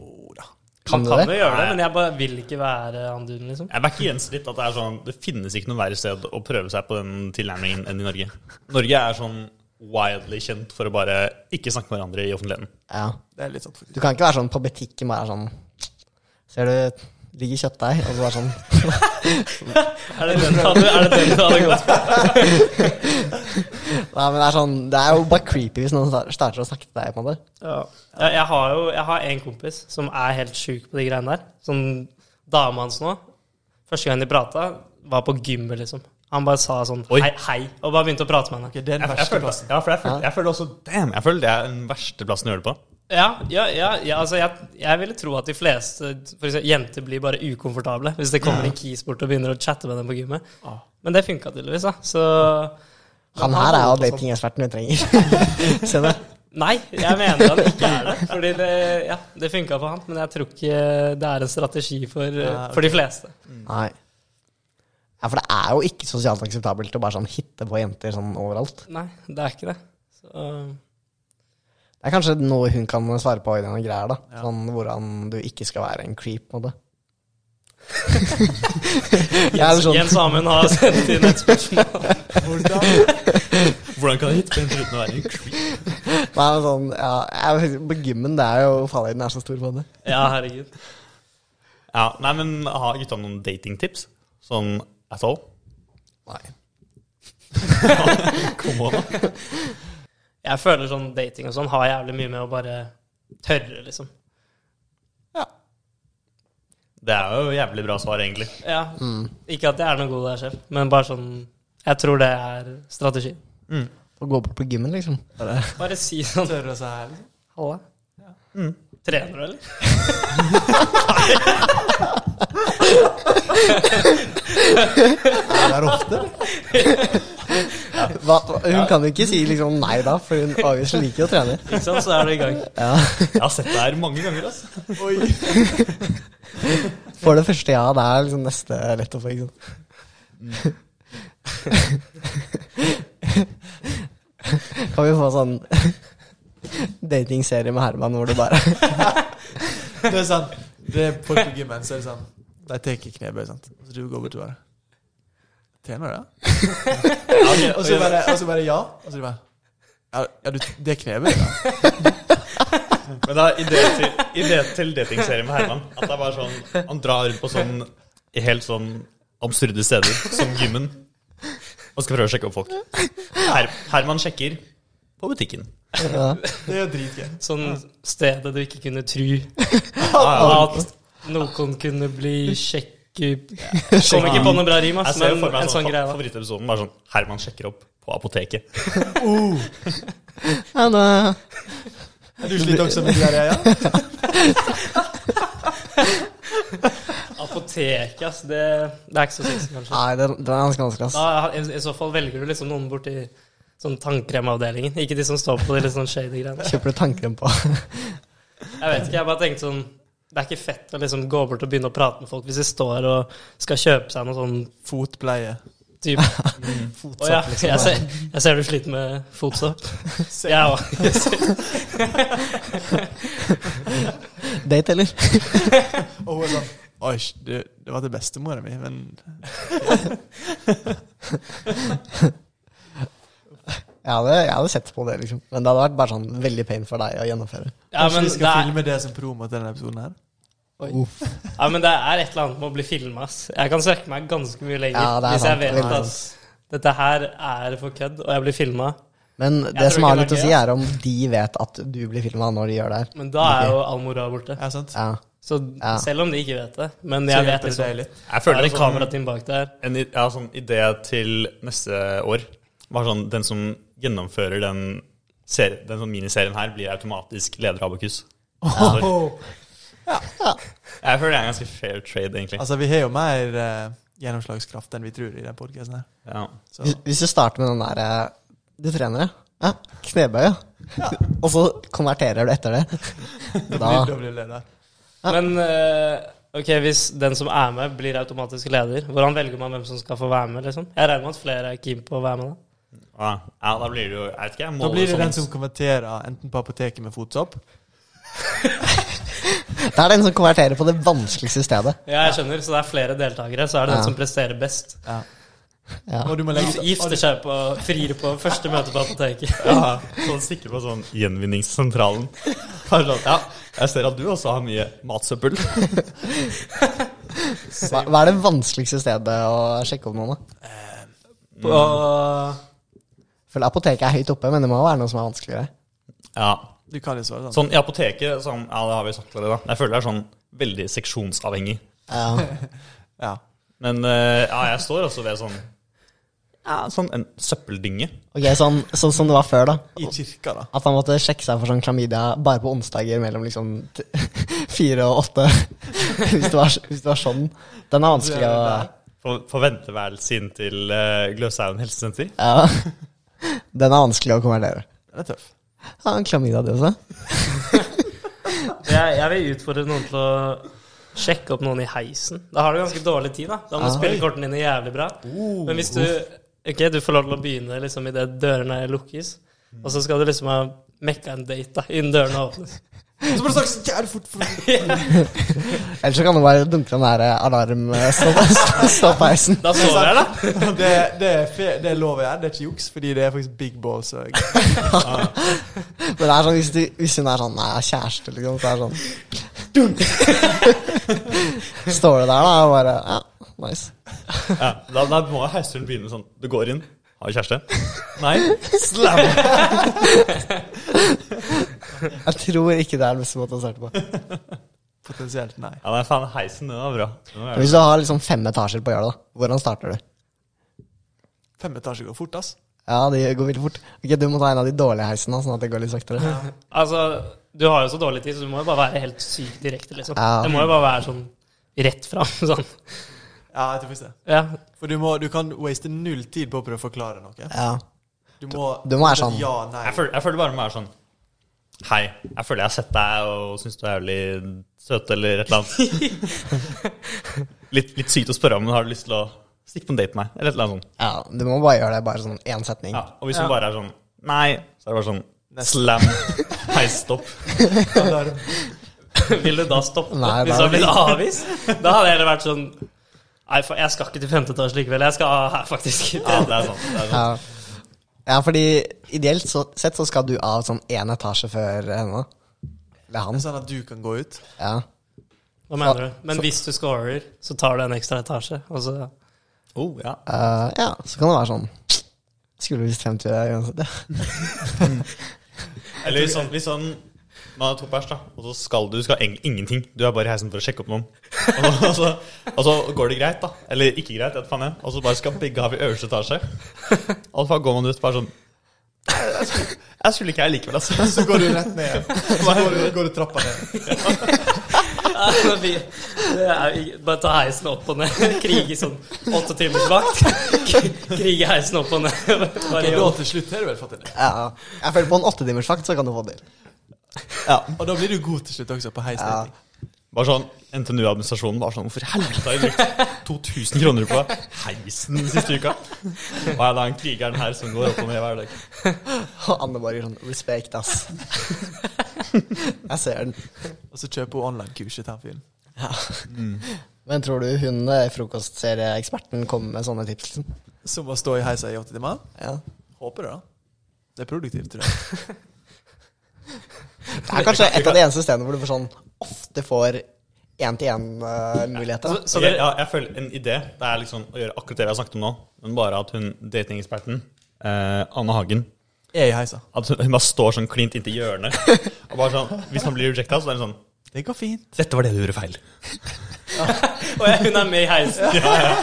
Speaker 2: Kan du
Speaker 5: Man
Speaker 2: det?
Speaker 5: kan jo gjøre det, men jeg bare vil ikke være han duden, liksom.
Speaker 4: Jeg backer Jens litt at det er sånn Det finnes ikke noe verre sted å prøve seg på den tilnærmingen enn i Norge. Norge er sånn wildly kjent for å bare ikke snakke med hverandre i offentligheten.
Speaker 2: Ja.
Speaker 3: Det er litt sant, faktisk.
Speaker 2: Du kan ikke være sånn på butikken bare sånn Ser du, ligger kjøttdeig, og så bare sånn
Speaker 5: Er det den du hadde, er det den du hadde gått for?
Speaker 2: Nei, men det er sånn Det er jo bare creepy hvis noen star- starter å snakke til deg, på en måte.
Speaker 5: Ja. Jeg, jeg har jo jeg har en kompis som er helt sjuk på de greiene der. Sånn dama hans nå. Første gang de prata, var på gymmet, liksom. Han bare sa sånn
Speaker 4: Oi.
Speaker 5: hei, hei, og bare begynte å prate med henne.
Speaker 3: Ok, det er
Speaker 4: Jeg,
Speaker 3: den
Speaker 4: jeg,
Speaker 3: verste
Speaker 4: føler,
Speaker 3: plassen.
Speaker 4: ja, for jeg, føler, jeg føler også Damn, jeg føler det er den verste plassen å gjøre det på.
Speaker 5: Ja, ja, ja, ja altså jeg, jeg ville tro at de fleste for eksempel, jenter blir bare ukomfortable hvis det kommer en kis bort og begynner å chatte med dem på gymmet.
Speaker 3: Ah.
Speaker 5: Men det funka tydeligvis, da. Så
Speaker 2: Han
Speaker 3: Men han
Speaker 2: her er jo
Speaker 3: holder på sånn.
Speaker 2: datingeksperten vi trenger. [LAUGHS] Se det.
Speaker 5: nei, jeg mener han ikke er det. Fordi det, ja, det funka for han, men jeg tror ikke det er en strategi for,
Speaker 3: Ja, ok.
Speaker 5: for de fleste.
Speaker 2: Nei. Ja, for det er jo ikke sosialt akseptabelt å bare sånn hitte på jenter sånn overalt.
Speaker 5: Nei, det er ikke det. Så,
Speaker 2: Det er kanskje noe hun kan svare på i denne greier, da. Sånn hvordan du ikke skal være en creep, på en måte. Jeg er
Speaker 5: [LAUGHS] Jens,
Speaker 2: sånn-
Speaker 5: Jens Amund [LAUGHS] har sendt inn et spørsmål.
Speaker 3: [LAUGHS]
Speaker 4: Hvordan kan jeg hitte på en uten å være en creep?
Speaker 2: Nei, men sånn, ja, jeg, på gymmen, det er jo farligheten er så stor på det.
Speaker 5: [LAUGHS] Ja, herregud.
Speaker 4: Ja, nei, men Har gutta noen datingtips? Sånn at all?
Speaker 2: Nei.
Speaker 4: [LAUGHS] Kom on, da.
Speaker 5: Jeg føler sånn dating og sånn har jævlig mye med å bare tørre, liksom.
Speaker 4: Det er jo jævlig bra svar, egentlig.
Speaker 5: Ja. Ikke at jeg er noe god der selv, men bare sånn Jeg tror det er strategien.
Speaker 2: Å gå bort på gymmen, liksom.
Speaker 5: Bare si sånn Mm.
Speaker 3: Tør å si hei, liksom.
Speaker 5: Halla. Trener du, eller?
Speaker 2: Det er ofte. Hva, hun kan jo ikke si liksom nei da, for hun obviously liker jo å trene.
Speaker 5: Ikke sant, så er du i gang.
Speaker 4: Jeg har sett det her mange ganger. altså. ass.
Speaker 2: For det første, ja, det er liksom neste lett å få, ikke sant. Kan vi få sånn datingserie med Herman hvor du bare
Speaker 3: Det er sant. Det er folk på gymmen, så er det sånn De tar knebøy, sant. Så du går bort og bare Trener du, ja?
Speaker 4: Ja,
Speaker 3: Og
Speaker 4: ok,
Speaker 3: så
Speaker 4: og-
Speaker 3: bare, og så bare ja. Og så bare Ja, ja du, det er knebøy, da?
Speaker 4: Men da, idé til, idé til datingserien med Herman At det er bare sånn Han drar rundt på sånn i Helt sånn absurde steder Som gymmen Og skal prøve å sjekke opp folk Her, Herman sjekker på butikken
Speaker 2: ja.
Speaker 3: Det er jo dritgøy.
Speaker 5: Sånn stedet du ikke kunne tru
Speaker 2: [LAUGHS]
Speaker 4: ja, ja.
Speaker 5: at noen kunne bli sjekk... Kom ikke på noe bra rim,
Speaker 4: Jeg
Speaker 5: ass,
Speaker 4: ser jo
Speaker 5: men
Speaker 4: for meg
Speaker 5: en sånn greie. da.
Speaker 4: Favorittepisoden var sånn Herman sjekker opp på apoteket
Speaker 2: ja, nå,
Speaker 3: Er du sliter også med de der, ja?
Speaker 5: Apoteket, ass. Det, det er ikke så sexy, kanskje.
Speaker 2: Nei, den, den er ganske vanskelig, ass.
Speaker 5: Da, i, I så fall velger du liksom noen borti sånn tannkremavdelingen. Ikke de som står på de litt sånn shady greiene.
Speaker 2: Kjøper du tannkrem på? [LAUGHS]
Speaker 5: Jeg vet ikke, jeg bare tenkte sånn Det er ikke fett å liksom gå bort og begynne å prate med folk hvis de står og skal kjøpe seg noe sånn
Speaker 3: Fotpleie.
Speaker 5: [LAUGHS] type Å ja, jeg ser, jeg ser du sliter med fotsopp. Jeg [LAUGHS] òg.
Speaker 2: Date, eller?
Speaker 3: Og hun er sånn Oi, du, det var til bestemora mi, men
Speaker 2: Jeg hadde, jeg hadde sett på det, liksom. Men det hadde vært bare sånn veldig pain for deg å gjennomføre.
Speaker 5: Ja,
Speaker 3: Kanskje
Speaker 5: men
Speaker 3: vi
Speaker 5: det
Speaker 3: skal
Speaker 5: er,
Speaker 3: filme det som promo til denne episoden her?
Speaker 2: Uff.
Speaker 5: ja, men det er et eller annet med å bli filma, ass. Jeg kan strekke meg ganske mye lenger
Speaker 2: Ja, det er
Speaker 5: hvis jeg
Speaker 2: sant,
Speaker 5: vet
Speaker 2: veldig
Speaker 5: at dette her er for kødd, og jeg blir filma.
Speaker 2: Men det
Speaker 5: tror
Speaker 2: som
Speaker 5: ikke
Speaker 2: har
Speaker 5: det
Speaker 2: litt å
Speaker 5: er
Speaker 2: si,
Speaker 5: gøy,
Speaker 2: er om de vet at du blir filma når de gjør det her.
Speaker 5: Men da er jo all moroa borte.
Speaker 3: Ja, sant?
Speaker 2: Ja.
Speaker 5: Så
Speaker 2: Ja.
Speaker 5: selv om de ikke vet det, men
Speaker 3: Så
Speaker 5: jeg
Speaker 3: hjelper
Speaker 5: vet
Speaker 3: det deg
Speaker 5: liksom
Speaker 3: litt.
Speaker 4: Jeg
Speaker 5: Det er
Speaker 4: føler
Speaker 5: et
Speaker 4: sånn,
Speaker 5: kamerateam bak der.
Speaker 4: en i- ja, sånn idé til neste år Var sånn Den som gjennomfører den, ser- den sånn miniserien her Blir automatisk leder av Abakus
Speaker 3: Åh.
Speaker 4: Jeg føler det er en ganske fair trade egentlig
Speaker 3: Altså, vi har jo mer eh, gjennomslagskraft enn vi tror i den podkasten her.
Speaker 4: Ja
Speaker 3: Så
Speaker 2: Hvis, hvis du starter med den der eh, Du trener, ja? ja. Knebøy, ja. [LAUGHS] og så konverterer du etter det. Da
Speaker 3: da blir det der.
Speaker 5: Men eh, Ok, Hvis den som er med, blir automatisk leder, hvordan velger man hvem som skal få være med? liksom? Jeg regner med at flere er keen på å være med. da.
Speaker 4: Ja, ja, da blir det jo Jeg vet ikke, jeg
Speaker 3: Da
Speaker 4: måler
Speaker 3: blir det
Speaker 4: sånn-
Speaker 3: den som konverterer enten på apoteket med fotsopp
Speaker 2: Det er den som konverterer på det vanskeligste stedet.
Speaker 5: Ja, jeg skjønner, Så det er flere deltakere, så er det
Speaker 2: Ja.
Speaker 5: den som presterer best.
Speaker 2: Ja.
Speaker 3: Og du må legge
Speaker 5: Gif- Gifter seg på, frir på første møte på apoteket. [LAUGHS]
Speaker 4: Ja, [LAUGHS] sånn sikker på sånn gjenvinningssentralen. Kanskje at, ja, jeg ser at du også har mye matsøppel.
Speaker 2: Hva, hva er det vanskeligste stedet å sjekke opp noen, da?
Speaker 5: På,
Speaker 2: Føler apoteket er høyt oppe, men det må jo være noe som er vanskeligere.
Speaker 4: Ja,
Speaker 3: Du kan jo svare sånn.
Speaker 4: sånn i apoteket, sånn, ja, det har vi sagt allerede, da. Jeg føler det er sånn veldig seksjonsavhengig.
Speaker 2: Ja.
Speaker 3: Ja.
Speaker 4: Men eh, ja, jeg står også ved sånn ja, sånn en søppeldynge.
Speaker 2: Ok, sånn, sånn som det var før, da.
Speaker 3: I kirka, da.
Speaker 2: At han måtte sjekke seg for sånn klamydia bare på onsdager mellom liksom t [LAUGHS] fire og åtte. [LAUGHS] hvis, det var, hvis det var sånn. Den er vanskelig å
Speaker 4: På, på venteværelset inn til uh, Gløshaugen helsesenter.
Speaker 2: Ja. Den er vanskelig å konvertere.
Speaker 3: Den er tøff.
Speaker 2: Ja, en klamydia, det også.
Speaker 5: jeg, jeg vil utfordre noen til å sjekke opp noen i heisen. Da har du ganske dårlig tid, da. Da må du spille kortene dine jævlig bra.
Speaker 2: Oh.
Speaker 5: Men hvis du Ok, du får lov til å begynne liksom idet dørene lukkes,
Speaker 2: Mm.
Speaker 5: og så skal du liksom ha mekka en date da, innen dørene åpnes.
Speaker 3: Så må du snakke så jævlig fort! For...
Speaker 2: Ellers så kan du bare dunke den der eh, [LAUGHS] alarmstoppheisen.
Speaker 5: Da sover jeg, da.
Speaker 3: [LAUGHS] Det, det, er fe- det er lov å gjøre, det er ikke juks, fordi det er faktisk big balls. og-
Speaker 2: Men det er sånn, hvis, du, hvis hun er sånn Nei, jeg er kjæreste, liksom, så er det sånn [LAUGHS] Dunk! Står du der, da, og bare Ja, nice.
Speaker 4: Ja, da, da må heiseren begynne sånn. Du går inn. Har du kjæreste? Nei. Slam!
Speaker 2: Jeg tror ikke det er den beste måten å starte på.
Speaker 3: Potensielt nei.
Speaker 4: Ja, nei, faen, heisen, den var bra. Den var
Speaker 2: Men Hvis du har liksom fem etasjer på Jarl, da, hvordan starter du?
Speaker 3: Fem etasjer går fort, ass.
Speaker 2: Ja, det går veldig fort. Ok, Du må ta en av de dårlige heisene, sånn at det går litt saktere.
Speaker 5: Altså, du har jo så dårlig tid, så du må jo bare være helt sykt direkte, liksom.
Speaker 2: Ja.
Speaker 5: Det må jo bare være sånn rett fram, [LAUGHS] sånn.
Speaker 3: Ja, jeg tror faktisk det.
Speaker 5: Ja.
Speaker 3: For du, må, du kan waste null tid på å prøve å forklare noe.
Speaker 2: Ja.
Speaker 3: Du må,
Speaker 2: Du må være sånn.
Speaker 3: Ja, nei.
Speaker 4: Jeg føler, jeg føler bare meg sånn Hei, jeg føler jeg har sett deg og syns du er jævlig søt eller et eller annet. [LAUGHS] litt, litt sykt å spørre om, men har du lyst til å stikke på en date med meg? Eller et eller annet sånt.
Speaker 2: ja, Du må bare gjøre det bare sånn én setning.
Speaker 4: Ja, og hvis
Speaker 5: Ja.
Speaker 4: hun bare er sånn Nei, så er det bare sånn Slam. Hei, stopp.
Speaker 3: Alarm.
Speaker 5: Vil du da stoppe
Speaker 2: Nei,
Speaker 5: hvis du
Speaker 2: nei.
Speaker 5: har blitt avvist? Da hadde jeg heller vært sånn Nei, fa- jeg skal ikke til femte etasje likevel. Jeg skal her, faktisk.
Speaker 4: Ja, det er sant. Det er sånn. sant.
Speaker 2: Ja. ja, fordi ideelt så, sett så skal du av sånn én etasje før henne. Eller han.
Speaker 3: Sånn at du kan gå ut.
Speaker 2: Ja.
Speaker 5: Hva mener du? Men hvis du scorer, så tar du en ekstra etasje. Og så
Speaker 4: Oh, ja.
Speaker 2: Eh, ja, så kan det være sånn Skulle visst frem til det uansett. Ja.
Speaker 4: Eller hvis sånn, hvis sånn man har to pers, da, og så skal du skal eng- ingenting. Du er bare i heisen for å sjekke opp noen. Og så, og, så, og så går det greit, da. Eller ikke greit, jeg vet faen jeg. Og så bare skal begge av i øverste etasje. Og så går man ut bare sånn Jeg skulle, jeg skulle ikke her likevel, altså.
Speaker 3: Så går du rett ned. Så går du, går du trappa ned.
Speaker 5: Vi- det er jo- Bare ta heisen opp og ned. [LAUGHS] Krige sånn åtte timers vakt. Krige heisen opp og ned. [LAUGHS]
Speaker 3: Og
Speaker 5: Bare
Speaker 3: da
Speaker 5: gjør-
Speaker 3: til slutt har du vel fått det ned.
Speaker 2: Ja. Jeg føler på en åttetimersvakt, så kan du få det til.
Speaker 3: Og da blir du god til slutt også, på heisdating.
Speaker 4: Bare sånn, NTNU-administrasjonen bare sånn Hvorfor i helvete har jeg brukt 2000 kroner på heisen den siste uka? Og jeg er da en krigeren her som går opp og ned hver dag.
Speaker 2: [LAUGHS] Og Anne bare gjør sånn Respect, ass. Jeg ser den.
Speaker 3: Og så kjøper hun online-kurs til han fyren.
Speaker 2: Men tror du hun eh, frokostserieeksperten kommer med sånne tips? Liksom?
Speaker 3: Som å stå i heisa i åtte timer.
Speaker 2: Ja.
Speaker 3: Håper det, da. Det er produktivt, tror jeg.
Speaker 2: Det er kanskje et av de eneste stedene hvor du får sånn ofte får eh, én-til-én-muligheter.
Speaker 4: Så det, ja, jeg føler en idé. Det er liksom å gjøre akkurat det vi har snakket om nå, men bare at hun datingeksperten, eh, Anne Hagen
Speaker 3: Jeg er i heisa.
Speaker 4: At hun hun bare står sånn klint inntil hjørnet. Og bare sånn, Hvis man blir rejecta, så er det sånn
Speaker 3: Det går fint.
Speaker 4: Dette var det du gjorde feil.
Speaker 5: Og jeg- hun er med i heisen.
Speaker 4: Ja, ja.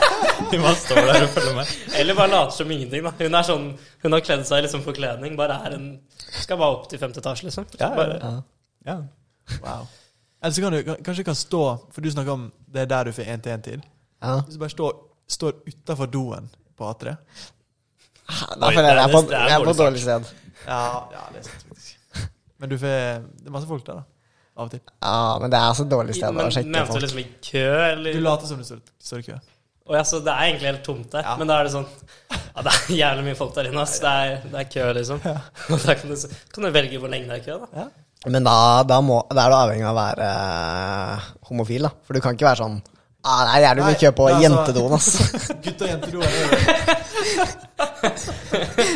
Speaker 4: Hun bare står der og følger med.
Speaker 5: Eller bare later som ingenting. da Hun er sånn Hun har kledd seg i liksom forkledning. Bare er en Skal bare opp til femte etasje, liksom. Bare,
Speaker 4: Ja.
Speaker 3: Wow. Eller så kan du kan- kanskje kan stå For du snakker om det er der du får én-til-én-tid.
Speaker 2: Ja.
Speaker 3: Hvis du bare står, står utafor doen på A3
Speaker 2: Da
Speaker 4: Oi, det
Speaker 2: føler jeg jeg
Speaker 4: er-
Speaker 2: er på,
Speaker 4: det er
Speaker 2: jeg er på
Speaker 4: dårlig
Speaker 2: et dårlig sted.
Speaker 3: Ja, ja det er sant, faktisk. Men du får Det er masse folk der, da. av og til.
Speaker 2: Ja, men det er så dårlig sted å
Speaker 5: Men
Speaker 2: sjekke
Speaker 5: mente du
Speaker 2: folk.
Speaker 5: liksom i kø,
Speaker 3: Du
Speaker 5: eller?
Speaker 3: later som du står, står i kø.
Speaker 5: Å ja, så det er egentlig helt tomt der. Men da er det sånn Ja, det er jævlig mye folk der inne, ass. Det er, det er kø, liksom. [LAUGHS] Og da kan du, s- kan du velge hvor lenge det er kø, da.
Speaker 2: Men da, da, må, da er du avhengig av å være eh, homofil, da. For du kan ikke være sånn ah, Det er jævlig mye kø på
Speaker 3: Nei, nei, altså-
Speaker 2: jentedoen, ass. [LAUGHS]
Speaker 3: Gutt og jente do er det. [LAUGHS]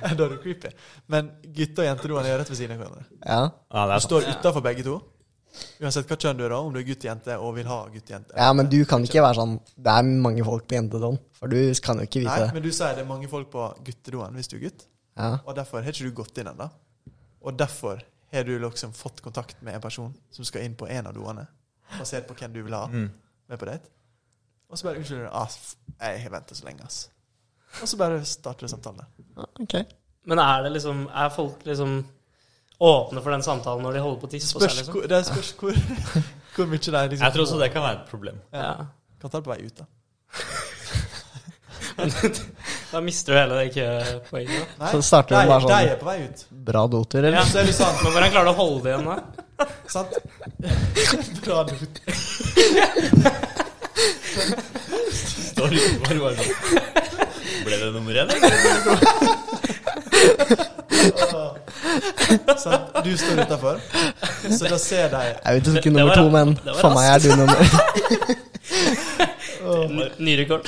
Speaker 3: Da er du creepy. Men gutt og jente doene er rett ved siden av hverandre.
Speaker 2: Ja.
Speaker 4: Ja, det
Speaker 3: Du
Speaker 4: er sant.
Speaker 3: står utafor begge to. Uansett hva kjønn du er, da, om du er gutt jente og vil ha gutt jente.
Speaker 2: ja, men du kan ikke være sånn Det er mange folk på jentedoen. For du kan jo ikke
Speaker 3: Nei,
Speaker 2: vite det.
Speaker 3: men du sier det er mange folk på guttedoen hvis du er gutt,
Speaker 2: Ja.
Speaker 3: og derfor har ikke du gått inn ennå. Og derfor har du liksom fått kontakt med en person som skal inn på en av doene, basert på hvem du vil ha med på date. Og så bare unnskylder du. Ah, f- jeg har venta så lenge, ass. Og så bare starter du samtalen.
Speaker 2: Ja, ok.
Speaker 5: Men er det liksom Er folk liksom åpne for den samtalen når de holder på å tisse på seg,
Speaker 3: Spørs,
Speaker 5: liksom?
Speaker 3: hvor, det spørs hvor, [LAUGHS] hvor mye det er liksom
Speaker 4: Jeg tror også det kan være et problem.
Speaker 5: Ja.
Speaker 3: Kan ta det på vei ut, da.
Speaker 5: Da mister du hele det køpoenget. da.
Speaker 3: Nei,
Speaker 2: Så starter
Speaker 3: de,
Speaker 2: hun bare sånn-
Speaker 3: De er på vei ut.
Speaker 2: Bra dotur, eller?
Speaker 5: Ja.
Speaker 3: Så er det sant.
Speaker 5: Men hvordan klarer du å holde det igjen, da?
Speaker 3: Sant? Bra not.
Speaker 4: Står liksom bare bare sånn. Ble det nummer én, eller?
Speaker 3: Sant? Du står utafor, så da ser de
Speaker 2: Jeg vet ikke
Speaker 5: Det- det
Speaker 2: nummer
Speaker 5: var
Speaker 2: to,
Speaker 5: ra-
Speaker 2: men
Speaker 5: det var
Speaker 2: for meg er du nummer
Speaker 5: Ny- Ny rekord.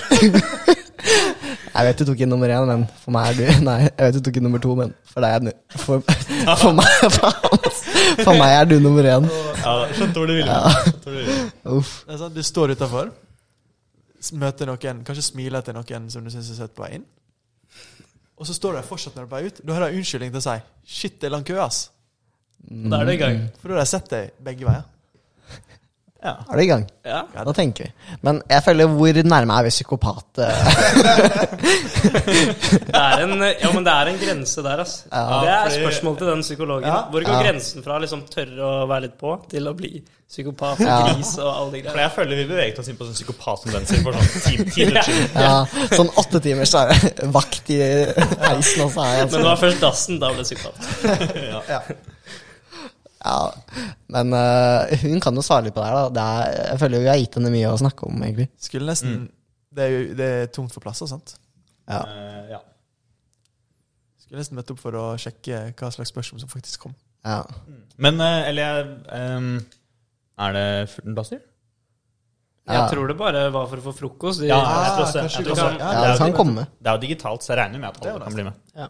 Speaker 2: Jeg vet du tok inn nummer én, men for meg er du [LAUGHS] Nei, jeg vet du tok inn nummer to, men for deg er du For, for, meg, [LAUGHS] for meg er du nummer én.
Speaker 4: Ja, skjønte hvor du ville. Skjønte hvor du ville.
Speaker 2: Uff.
Speaker 3: det er sant? Du står utafor, møter noen, kanskje smiler til noen som du syns er søt på vei inn. Og så står de fortsatt når de er på vei ut. Da har de unnskyldning til å si 'shit, det er lang kø', ass.
Speaker 5: Da er du i gang.
Speaker 3: For da har de sett deg begge veier.
Speaker 2: Er du i gang?
Speaker 5: Ja.
Speaker 2: Da tenker vi. Men jeg føler hvor nærme er vi psykopat?
Speaker 5: [LAUGHS]
Speaker 2: eh,
Speaker 5: Det er en, ja, men det er en grense der, altså. det er
Speaker 4: fordi-
Speaker 5: spørsmål til den psykologen. Hvor går grensen fra liksom tørre å være litt på, til å bli psykopat og
Speaker 2: Ja.
Speaker 5: gris og alle de
Speaker 4: For
Speaker 5: greiene?
Speaker 4: jeg føler vi beveget oss inn på sånn psykopat-tendenser for sånn ti ti minutter siden.
Speaker 2: Ja, sånn åtte timers da, vakt i heisen, og så er jeg
Speaker 5: Men det
Speaker 2: altså
Speaker 5: var først dassen, da ble jeg psykopat.
Speaker 2: ja. Men eh, hun kan jo svare litt på det her, da. Det er, jeg føler jo vi har gitt henne mye å snakke om, egentlig.
Speaker 3: Skulle nesten det, er jo, det er tomt for plasser, sant?
Speaker 2: Ja.
Speaker 4: Eh, ja.
Speaker 3: Skulle nesten møtt opp for å sjekke hva slags spørsmål som faktisk kom.
Speaker 2: Ja.
Speaker 4: Men eh, eller jeg ehm, Er det 14 plasser?
Speaker 2: Ja.
Speaker 5: Jeg tror det bare var for å få frokost. De, Ah,
Speaker 4: Ja, jeg tror også det.
Speaker 3: kanskje
Speaker 4: Jeg
Speaker 3: du
Speaker 4: tror
Speaker 3: kan-
Speaker 4: også-
Speaker 3: ja,
Speaker 4: det
Speaker 2: Ja,
Speaker 4: er
Speaker 2: så
Speaker 4: jo-
Speaker 2: han komme.
Speaker 4: Det er jo digitalt, så jeg regner med at
Speaker 3: Det er
Speaker 4: alle
Speaker 3: jo
Speaker 4: kan bli med.
Speaker 5: Ja.